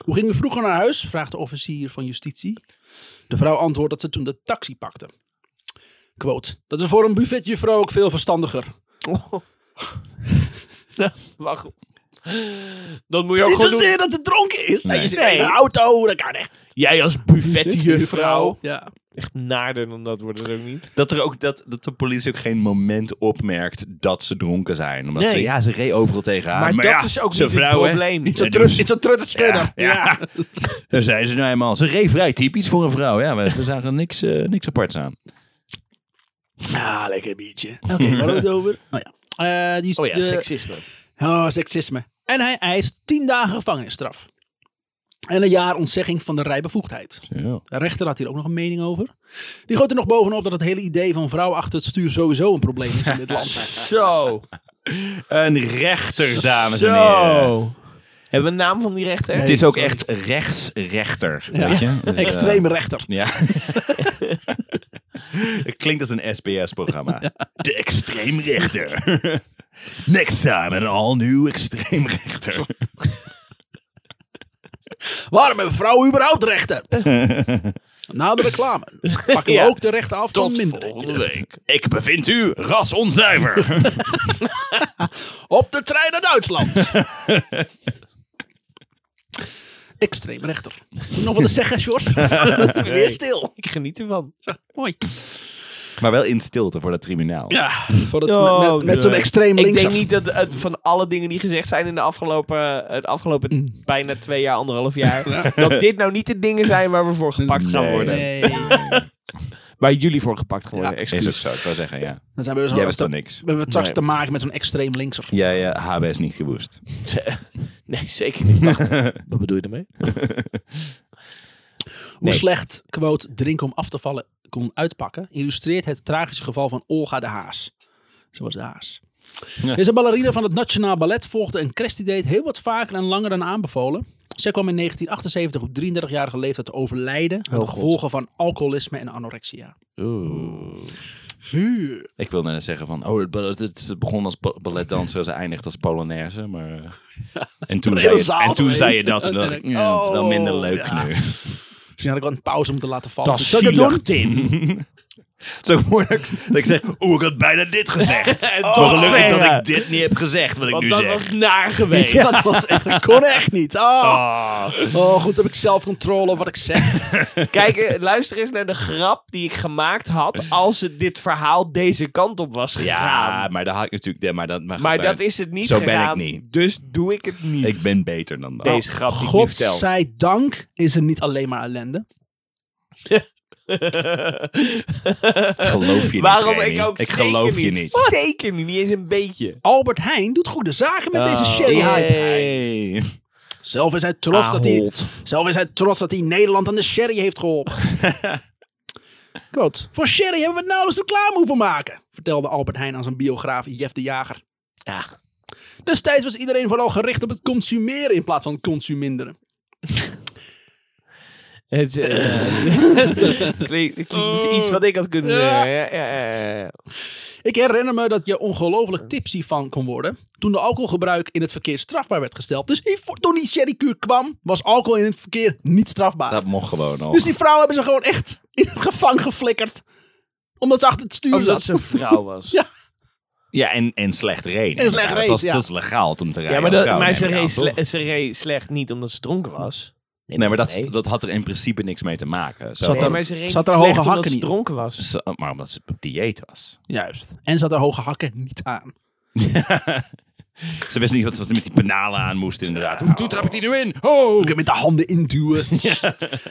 [SPEAKER 1] Hoe ging u vroeger naar huis? Vraagt de officier van justitie. De vrouw antwoordt dat ze toen de taxi pakte. Quote. Dat is
[SPEAKER 3] Oh,
[SPEAKER 1] voor een buffetjuffrouw ook veel verstandiger.
[SPEAKER 3] Nou, Wacht. Dan moet je ook
[SPEAKER 1] Niet
[SPEAKER 3] gewoon doen.
[SPEAKER 1] zozeer dat ze dronken is. Nee. je zit
[SPEAKER 3] Nee.
[SPEAKER 1] in een auto, dat kan echt.
[SPEAKER 3] Jij als buffetjuffrouw.
[SPEAKER 1] Ja.
[SPEAKER 3] Echt naarder dan dat wordt het ook niet.
[SPEAKER 2] Dat, er ook, dat, dat de politie ook geen moment opmerkt dat ze dronken zijn. Omdat
[SPEAKER 3] Nee.
[SPEAKER 2] ze, ja, ze reed overal tegenaan.
[SPEAKER 3] Ah, Maar, dat
[SPEAKER 2] ja,
[SPEAKER 3] is ook
[SPEAKER 2] ze
[SPEAKER 3] niet het
[SPEAKER 2] vrouwen,
[SPEAKER 3] probleem. dus-
[SPEAKER 2] Niet zo
[SPEAKER 1] Trut,
[SPEAKER 2] trust.
[SPEAKER 1] is een trutte schudden.
[SPEAKER 2] Ja, ja. Daar zijn ze nou eenmaal. Ze reed vrij typisch voor een vrouw. Ja, we, we zagen niks, eh, niks aparts aan.
[SPEAKER 1] Ah, lekker biertje. Oké, waar hadden we het over? Oh ja. Eh, die is
[SPEAKER 3] Oh ja,
[SPEAKER 1] de-
[SPEAKER 3] seksisme.
[SPEAKER 1] Oh, seksisme. En hij eist 10 dagen gevangenisstraf. En een jaar ontzegging van de rijbevoegdheid.
[SPEAKER 2] Ja.
[SPEAKER 1] De rechter had hier ook nog een mening over. Die gooit er nog bovenop dat het hele idee van vrouwen achter het stuur sowieso een probleem is in dit land.
[SPEAKER 3] Zo.
[SPEAKER 2] Een rechter, dames en heren.
[SPEAKER 3] Zo. Hebben we een naam van die rechter?
[SPEAKER 2] Het is ook echt rechtsrechter. Weet je? Dus, eh,
[SPEAKER 1] Extreme rechter.
[SPEAKER 2] Ja. Het klinkt als een SBS-programma. De extreemrechter. Next time, an all-new extreemrechter.
[SPEAKER 1] Waarom hebben vrouwen überhaupt rechten? Na de reclame pakken we ook de rechten af van minder.
[SPEAKER 3] week.
[SPEAKER 2] Ik bevind u rasonzuiver.
[SPEAKER 1] Op de trein naar Duitsland. Extreem rechter. Moet je Nog wat te zeggen, Sjors? Weer stil.
[SPEAKER 3] Ik geniet ervan.
[SPEAKER 1] Mooi.
[SPEAKER 2] maar wel in stilte voor dat tribunaal.
[SPEAKER 1] Ja, voor dat,
[SPEAKER 3] Oh,
[SPEAKER 1] met- met, met zo'n
[SPEAKER 3] nee.
[SPEAKER 1] extreem
[SPEAKER 3] Ik
[SPEAKER 1] links.
[SPEAKER 3] denk niet dat het van alle dingen die gezegd zijn in de afgelopen, het afgelopen bijna twee jaar, anderhalf jaar, dat dit nou niet de dingen zijn waar we voor gepakt gaan
[SPEAKER 2] Nee.
[SPEAKER 3] worden.
[SPEAKER 1] Nee,
[SPEAKER 3] Waar jullie voor gepakt gaan worden.
[SPEAKER 2] Is ook
[SPEAKER 3] Excuus.
[SPEAKER 2] zo, ik wil zeggen, ja.
[SPEAKER 1] dan zijn we dus
[SPEAKER 2] Jij
[SPEAKER 1] al-
[SPEAKER 2] wist dan
[SPEAKER 1] we
[SPEAKER 2] niks.
[SPEAKER 1] hebben straks
[SPEAKER 3] Nee.
[SPEAKER 1] te maken met zo'n extreem linkser.
[SPEAKER 2] Jij eh, ja, HB is niet gewoest.
[SPEAKER 3] Nee, zeker niet. Wacht. Wat bedoel je daarmee?
[SPEAKER 1] Hoe slecht, quote, drinken om af te vallen kon uitpakken, illustreert het tragische geval van Olga de Haas. Zo was de Haas. Deze ballerina van het Nationaal Ballet volgde een crestidate heel wat vaker en langer dan aanbevolen. Zij kwam in 1978 op 33-jarige leeftijd te overlijden
[SPEAKER 3] Oh,
[SPEAKER 1] aan de gevolgen van alcoholisme en anorexia.
[SPEAKER 2] Ik wil net zeggen van, oh, het, ballet- het begon als ba- balletdanser, ze eindigt als polonaise, maar... eh, En toen, zei je, en toen zei je dat en dacht ik, ja, dat is wel minder leuk nu.
[SPEAKER 1] Misschien had ik wel een pauze om te laten vallen.
[SPEAKER 3] Dat is
[SPEAKER 1] Zou ik dat
[SPEAKER 3] zielig,
[SPEAKER 1] doen?
[SPEAKER 3] Tim.
[SPEAKER 2] Het is ook mooi dat ik, dat ik zeg, oeh, ik had bijna dit gezegd.
[SPEAKER 3] En
[SPEAKER 2] Oh,
[SPEAKER 3] toch
[SPEAKER 2] gelukkig dat
[SPEAKER 3] zeggen.
[SPEAKER 2] ik dit niet heb gezegd, wat ik
[SPEAKER 3] Want
[SPEAKER 2] nu
[SPEAKER 3] dat
[SPEAKER 2] zeg.
[SPEAKER 3] was naar geweest.
[SPEAKER 1] Ja, dat was echt, dat kon echt niet. Oh,
[SPEAKER 3] Ah.
[SPEAKER 1] oh goed, heb ik zelf controle over wat ik zeg.
[SPEAKER 3] Kijk, eh, luister eens naar de grap die ik gemaakt had als het dit verhaal deze kant op was gegaan.
[SPEAKER 2] Ja, maar dat had ik natuurlijk... ja, Maar dat, maar,
[SPEAKER 3] maar
[SPEAKER 2] maar-
[SPEAKER 3] dat is het niet
[SPEAKER 2] Zo ben ik
[SPEAKER 3] gegaan,
[SPEAKER 2] niet.
[SPEAKER 3] Dus doe ik het niet. Oh,
[SPEAKER 2] Ik ben beter dan dat.
[SPEAKER 3] Deze grap die ik nu vertel.
[SPEAKER 1] Godzijdank is er niet alleen maar ellende.
[SPEAKER 2] geloof je niet,
[SPEAKER 3] Waarom
[SPEAKER 2] Remy.
[SPEAKER 3] ik ook
[SPEAKER 2] Ik
[SPEAKER 3] zeker
[SPEAKER 2] geloof je
[SPEAKER 3] niet.
[SPEAKER 2] niet.
[SPEAKER 3] Zeker niet, niet eens een beetje.
[SPEAKER 1] Albert Heijn doet goede zaken met deze sherry
[SPEAKER 2] Hey.
[SPEAKER 1] Zelf is hij trots dat hij,
[SPEAKER 3] Ahold.
[SPEAKER 1] zelf is hij trots dat hij Nederland aan de sherry heeft geholpen. Quote, voor sherry hebben we nauwelijks reclame hoeven maken, vertelde Albert Heijn aan zijn biograaf Jeff de Jager.
[SPEAKER 3] Ja.
[SPEAKER 1] Destijds was iedereen vooral gericht op het consumeren in plaats van consuminderen.
[SPEAKER 3] Het eh, klinkt, het klinkt dus
[SPEAKER 2] Oh.
[SPEAKER 3] iets wat ik had kunnen zeggen. Ja, ja, ja, ja.
[SPEAKER 1] Ik herinner me dat je ongelooflijk tipsy van kon worden. toen de alcoholgebruik in het verkeer strafbaar werd gesteld. Dus die- toen die sherrykuur kwam, was alcohol in het verkeer niet strafbaar.
[SPEAKER 2] Dat mocht gewoon al.
[SPEAKER 1] Dus die vrouw hebben ze gewoon echt in het gevang geflikkerd. Omdat ze achter het stuur zat.
[SPEAKER 3] Omdat ze Oh, een vrouw was.
[SPEAKER 1] Ja.
[SPEAKER 2] Ja, en, en slecht reden.
[SPEAKER 1] En slecht
[SPEAKER 2] Ja, dat,
[SPEAKER 1] reed,
[SPEAKER 2] was,
[SPEAKER 1] ja.
[SPEAKER 2] dat is legaal om te rijden.
[SPEAKER 3] Ja, maar,
[SPEAKER 2] als
[SPEAKER 3] dat,
[SPEAKER 2] vrouw,
[SPEAKER 3] maar
[SPEAKER 2] neem
[SPEAKER 3] ze,
[SPEAKER 2] ik aan,
[SPEAKER 3] reed
[SPEAKER 2] toch?
[SPEAKER 3] sle- ze reed slecht niet omdat ze dronken was.
[SPEAKER 2] Nee, maar dat,
[SPEAKER 3] Nee.
[SPEAKER 2] dat had er in principe niks mee te maken. Zo,
[SPEAKER 1] Zat
[SPEAKER 3] Nee,
[SPEAKER 1] er-
[SPEAKER 3] maar ze reed
[SPEAKER 1] zat
[SPEAKER 3] niet
[SPEAKER 1] er hoge
[SPEAKER 3] slecht omdat
[SPEAKER 1] hakken
[SPEAKER 3] ze
[SPEAKER 1] niet op?
[SPEAKER 3] dronken was.
[SPEAKER 2] Zo, maar omdat ze op dieet was.
[SPEAKER 1] Juist. En ze had haar hoge hakken niet aan.
[SPEAKER 2] Ze wist niet wat ze met die penalen aan moest, inderdaad. Hoe, hoe trap ik die nu in? Oh!
[SPEAKER 1] Ook met de handen induwen.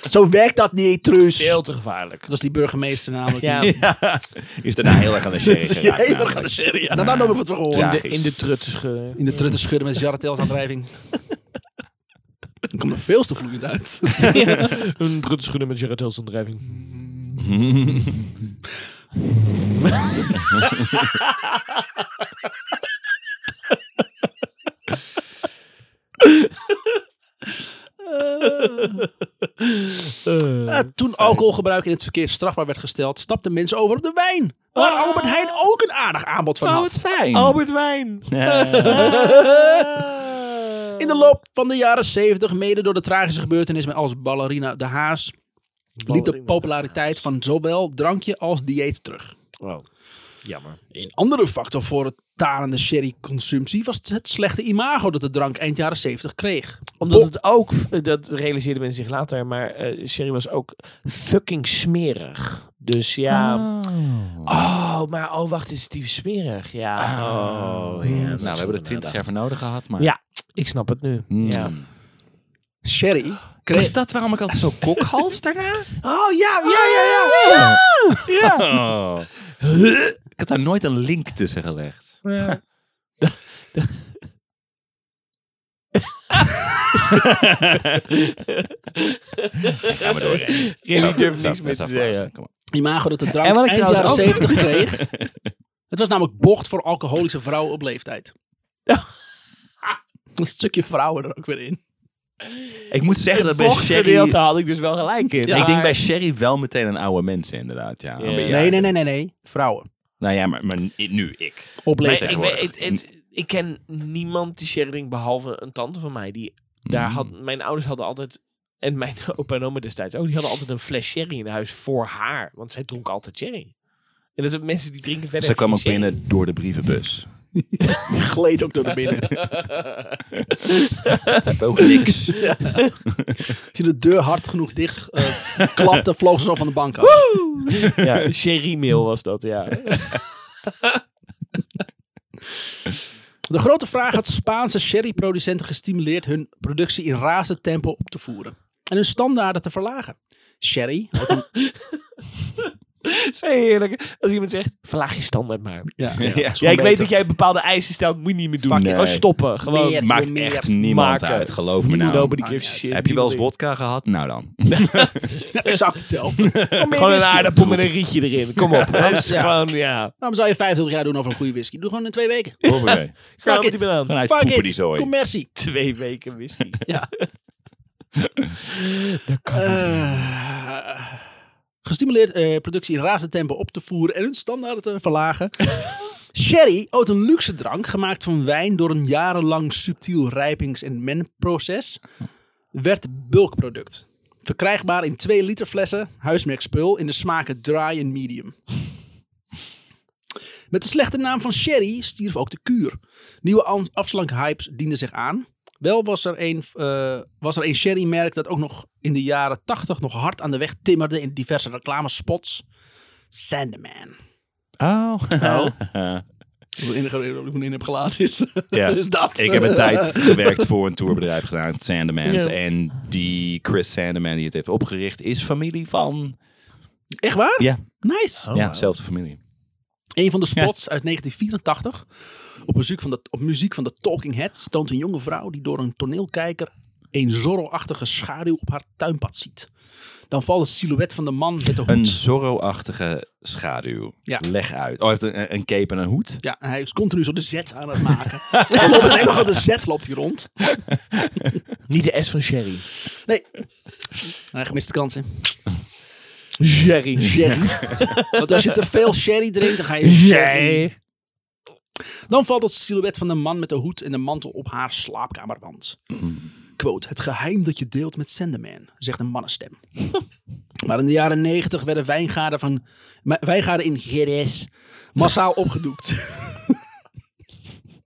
[SPEAKER 1] Zo werkt dat niet, Truus.
[SPEAKER 3] Veel te gevaarlijk.
[SPEAKER 1] Dat was die burgemeester namelijk.
[SPEAKER 3] Ja,
[SPEAKER 2] Is daarna heel erg aan de sherry
[SPEAKER 1] Die hele
[SPEAKER 2] geraakt. namelijk. Nou,
[SPEAKER 1] gaat de sherry aan.
[SPEAKER 3] Nou,
[SPEAKER 1] Daarna nog wat we gehoord.
[SPEAKER 2] Ja.
[SPEAKER 3] in de, in de trut te schudden.
[SPEAKER 1] In de trutten schudden met jarretels aandrijving. Dan komt er veel te vloeiend uit.
[SPEAKER 3] Een trut te schudden met Gerard Hilson drijving.
[SPEAKER 1] Eh, toen alcoholgebruik in het verkeer strafbaar werd gesteld, stapten mensen over op de wijn.
[SPEAKER 3] Ah.
[SPEAKER 1] Waar Albert Heijn ook een aardig aanbod van
[SPEAKER 2] nou,
[SPEAKER 1] had.
[SPEAKER 2] fijn.
[SPEAKER 3] Albert Wijn! Ah.
[SPEAKER 1] In
[SPEAKER 3] Oh.
[SPEAKER 1] de loop van de jaren 70, mede door de tragische gebeurtenissen als ballerina De Haas, liep de
[SPEAKER 3] Ballerina
[SPEAKER 1] populariteit van zowel drankje als dieet terug.
[SPEAKER 3] Wow. Jammer.
[SPEAKER 1] Een andere factor voor het starende sherry-consumptie was het slechte imago dat de drank eind jaren 70 kreeg.
[SPEAKER 3] Omdat het ook, eh, dat realiseerden mensen zich later, maar eh Sherry was ook fucking smerig. Dus ja. Oh, maar oh, wacht, is Steve smerig? Ja.
[SPEAKER 2] Ah.
[SPEAKER 3] Oh, ja.
[SPEAKER 2] nou, we hebben er twintig jaar voor nodig gehad, maar...
[SPEAKER 3] Ja, ik snap het nu.
[SPEAKER 2] Mm.
[SPEAKER 3] Ja.
[SPEAKER 1] Sherry kreeg...
[SPEAKER 2] Is dat waarom ik altijd zo kokhals daarna?
[SPEAKER 3] Oh ja, ja, ja, ja. ja.
[SPEAKER 2] Oh. Ik had daar nooit een link tussen gelegd. Ga maar door. Remy.
[SPEAKER 3] Remy
[SPEAKER 2] Zo,
[SPEAKER 3] durft
[SPEAKER 2] zo,
[SPEAKER 3] niks meer
[SPEAKER 2] zo,
[SPEAKER 3] te
[SPEAKER 2] zo, zo,
[SPEAKER 3] zeggen.
[SPEAKER 2] kom op.
[SPEAKER 1] imago dat de drank
[SPEAKER 3] En wat ik
[SPEAKER 1] eind
[SPEAKER 3] trouwens
[SPEAKER 1] jaren
[SPEAKER 3] ook-
[SPEAKER 1] 70 kreeg. Het was namelijk bocht voor alcoholische vrouwen op leeftijd.
[SPEAKER 3] Oh.
[SPEAKER 1] Een stukje vrouwen er ook weer in.
[SPEAKER 2] Ik moet zeggen dat bij Sherry...
[SPEAKER 3] Bochtgedeelte had ik dus wel gelijk in.
[SPEAKER 1] Ja.
[SPEAKER 2] Ik denk bij Sherry wel meteen aan oude mensen, inderdaad. Ja.
[SPEAKER 3] Ja.
[SPEAKER 2] Maar ja,
[SPEAKER 1] Nee, nee, nee, nee, nee. Vrouwen.
[SPEAKER 2] Nou ja, maar, maar nu ik.
[SPEAKER 1] Op
[SPEAKER 3] Maar
[SPEAKER 1] leeftijd.
[SPEAKER 3] ik,
[SPEAKER 2] tegenwoordig.
[SPEAKER 3] weet- het- het- ik ken niemand die sherry drinkt, behalve een tante van mij. Die, daar had, mijn ouders hadden altijd, en mijn opa en oma destijds ook, die hadden altijd een fles sherry in huis voor haar. Want zij dronk altijd sherry. En dat zijn mensen die drinken verder
[SPEAKER 2] Ze kwam
[SPEAKER 3] geen
[SPEAKER 2] ook binnen door de brievenbus.
[SPEAKER 1] gleed ook door de binnen.
[SPEAKER 2] Ook niks.
[SPEAKER 1] Als je de deur hard genoeg dicht eh, klapte, vloog ze zo van de bank af.
[SPEAKER 3] sherry. Ja, sherry-mail was dat, ja.
[SPEAKER 1] De grote vraag had Spaanse sherryproducenten gestimuleerd hun productie in razend tempo op te voeren. En hun standaarden te verlagen. Sherry had een,
[SPEAKER 3] Het is heerlijk. Als iemand zegt, verlaag je standaard maar.
[SPEAKER 1] ja,
[SPEAKER 2] Ja.
[SPEAKER 3] Ja, ik weet dat jij bepaalde eisen stelt, moet je niet meer doen.
[SPEAKER 2] Fuck it.
[SPEAKER 3] Gewoon stoppen. Gewoon
[SPEAKER 1] Meer.
[SPEAKER 2] Maakt
[SPEAKER 1] Meer
[SPEAKER 2] echt niemand
[SPEAKER 3] maken.
[SPEAKER 2] uit, geloof me nou.
[SPEAKER 3] nobody gives a shit.
[SPEAKER 2] Heb je wel eens wodka gehad? Nou dan.
[SPEAKER 1] ja, exact hetzelfde.
[SPEAKER 3] Gewoon een aardappel met een rietje erin. Kom op. Dat is
[SPEAKER 1] Ja.
[SPEAKER 3] gewoon, ja.
[SPEAKER 1] Waarom zou je 25 jaar doen over een goede whisky? Doe gewoon in twee weken.
[SPEAKER 2] Hoppakee.
[SPEAKER 3] Fuck
[SPEAKER 1] it.
[SPEAKER 3] it. Aan.
[SPEAKER 2] Vanuit
[SPEAKER 1] Fuck
[SPEAKER 2] poepen
[SPEAKER 1] it.
[SPEAKER 2] die zooi.
[SPEAKER 1] Commercie.
[SPEAKER 3] Twee weken whisky.
[SPEAKER 1] Eh, gestimuleerd eh, productie in razend tempo op te voeren en hun standaarden te verlagen. Sherry, ooit een luxe drank gemaakt van wijn door een jarenlang subtiel rijpings- en menproces, werd bulkproduct. Verkrijgbaar in 2 liter flessen, huismerkspul, in de smaken dry en medium. Met de slechte naam van Sherry stierf ook de kuur. Nieuwe an- afslankhypes dienden zich aan. Wel was er een, eh, was er een sherrymerk dat ook nog in de jaren 80 nog hard aan de weg timmerde in diverse reclamespots. Sandman.
[SPEAKER 2] Oh.
[SPEAKER 1] Hoe in hoe in heb gelaten is,
[SPEAKER 2] Ja.
[SPEAKER 1] is dat.
[SPEAKER 2] Ik heb een tijd gewerkt voor een tourbedrijf gedaan, Sandemans. En die Chris Sandeman die het heeft opgericht, is familie van...
[SPEAKER 1] Echt waar?
[SPEAKER 2] Ja, Oh.
[SPEAKER 1] Nice.
[SPEAKER 2] ja zelfde familie.
[SPEAKER 1] Een van de spots uit 1984, op muziek, van de, op muziek van de Talking Heads, toont een jonge vrouw die door een toneelkijker een zorrelachtige schaduw op haar tuinpad ziet. Dan valt het silhouet van de man met de
[SPEAKER 2] Een
[SPEAKER 1] hoed.
[SPEAKER 2] Zorro-achtige schaduw.
[SPEAKER 1] Ja.
[SPEAKER 2] Leg uit. Oh, hij heeft een, een cape en een hoed.
[SPEAKER 1] Ja, en hij is continu zo de zet aan het maken. en op een hele grote zet loopt hij rond.
[SPEAKER 3] Niet de S van Sherry.
[SPEAKER 1] Nee. Hij gemiste kansen.
[SPEAKER 3] Sherry.
[SPEAKER 1] Sherry. Want als je te veel sherry drinkt, dan ga je sherry. Dan valt het silhouet van de man met de hoed en de mantel op haar slaapkamerwand. Quote, het geheim dat je deelt met Sanderman, zegt een mannenstem. maar in de jaren negentig werden wijngaarden, van, ma- wijngaarden in Jerez massaal opgedoekt.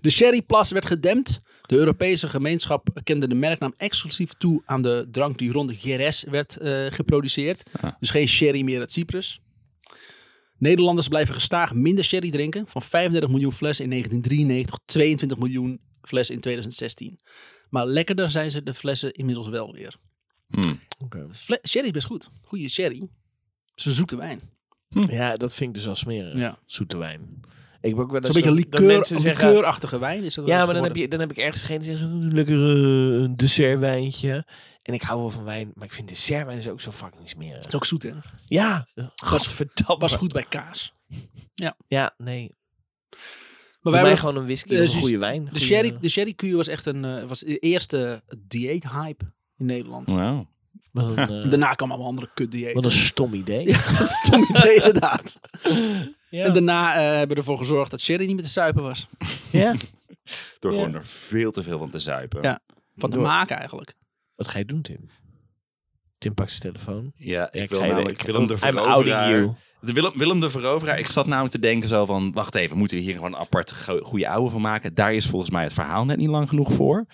[SPEAKER 1] de sherryplas werd gedempt. De Europese gemeenschap kende de merknaam exclusief toe aan de drank die rond de Jerez werd eh, geproduceerd. Dus geen sherry meer uit Cyprus. Nederlanders blijven gestaag minder sherry drinken. Van 35 miljoen flessen in 1993, 22 miljoen flessen in 2016. Maar lekkerder zijn ze de flessen inmiddels wel weer. Fle- sherry is best goed. Goede sherry. Ze zoeken wijn.
[SPEAKER 3] Ja, dat vind ik dus al smerig.
[SPEAKER 1] Ja.
[SPEAKER 3] Zoete wijn. Ik ben ook wel
[SPEAKER 1] Zo'n
[SPEAKER 3] eens
[SPEAKER 1] beetje
[SPEAKER 3] dat- dat
[SPEAKER 1] likeur,
[SPEAKER 3] mensen zeggen-
[SPEAKER 1] likeurachtige wijn is dat
[SPEAKER 3] Ja, maar dan heb, je, dan heb ik ergens geen zin in zo'n lekker eh, een dessertwijntje. En ik hou wel van wijn, maar ik vind dessertwijn is ook zo fucking smerig.
[SPEAKER 1] is ook zoet, hè?
[SPEAKER 3] Ja, gadverdamme.
[SPEAKER 1] Was goed bij kaas.
[SPEAKER 3] Ja, nee.
[SPEAKER 1] Maar
[SPEAKER 3] Wij
[SPEAKER 1] wij
[SPEAKER 3] mij
[SPEAKER 1] hebben
[SPEAKER 3] gewoon een whisky
[SPEAKER 1] eh,
[SPEAKER 3] of
[SPEAKER 1] ze-
[SPEAKER 3] een goede wijn. eh,
[SPEAKER 1] de sherry, de sherry kuur was echt een eh, was de eerste dieet-hype in Nederland.
[SPEAKER 2] Wauw.
[SPEAKER 3] Wat een, eh,
[SPEAKER 1] Daarna kwamen allemaal andere kut-diëten.
[SPEAKER 3] wat een stom idee.
[SPEAKER 1] Ja, dat is een stom idee, inderdaad.
[SPEAKER 3] Ja.
[SPEAKER 1] En daarna eh, hebben we ervoor gezorgd dat sherry niet meer te suipen was.
[SPEAKER 3] Ja.
[SPEAKER 2] Door
[SPEAKER 3] Ja.
[SPEAKER 2] gewoon er veel te veel van te zuipen.
[SPEAKER 1] Ja. Van te
[SPEAKER 3] Door.
[SPEAKER 1] maken eigenlijk.
[SPEAKER 3] Wat ga je doen, Tim? Tim pakt zijn telefoon.
[SPEAKER 2] Ja, ik,
[SPEAKER 3] Ja,
[SPEAKER 2] wil,
[SPEAKER 3] ga je-
[SPEAKER 2] namelijk, ik wil hem ervoor
[SPEAKER 3] nou I'm outing
[SPEAKER 2] overhalen.
[SPEAKER 3] you.
[SPEAKER 2] De Willem, Willem de Veroveraar. Ik zat namelijk te denken zo van... Wacht even, moeten we hier gewoon een apart go- goede ouwe van maken? Daar is volgens mij het verhaal net niet lang genoeg voor.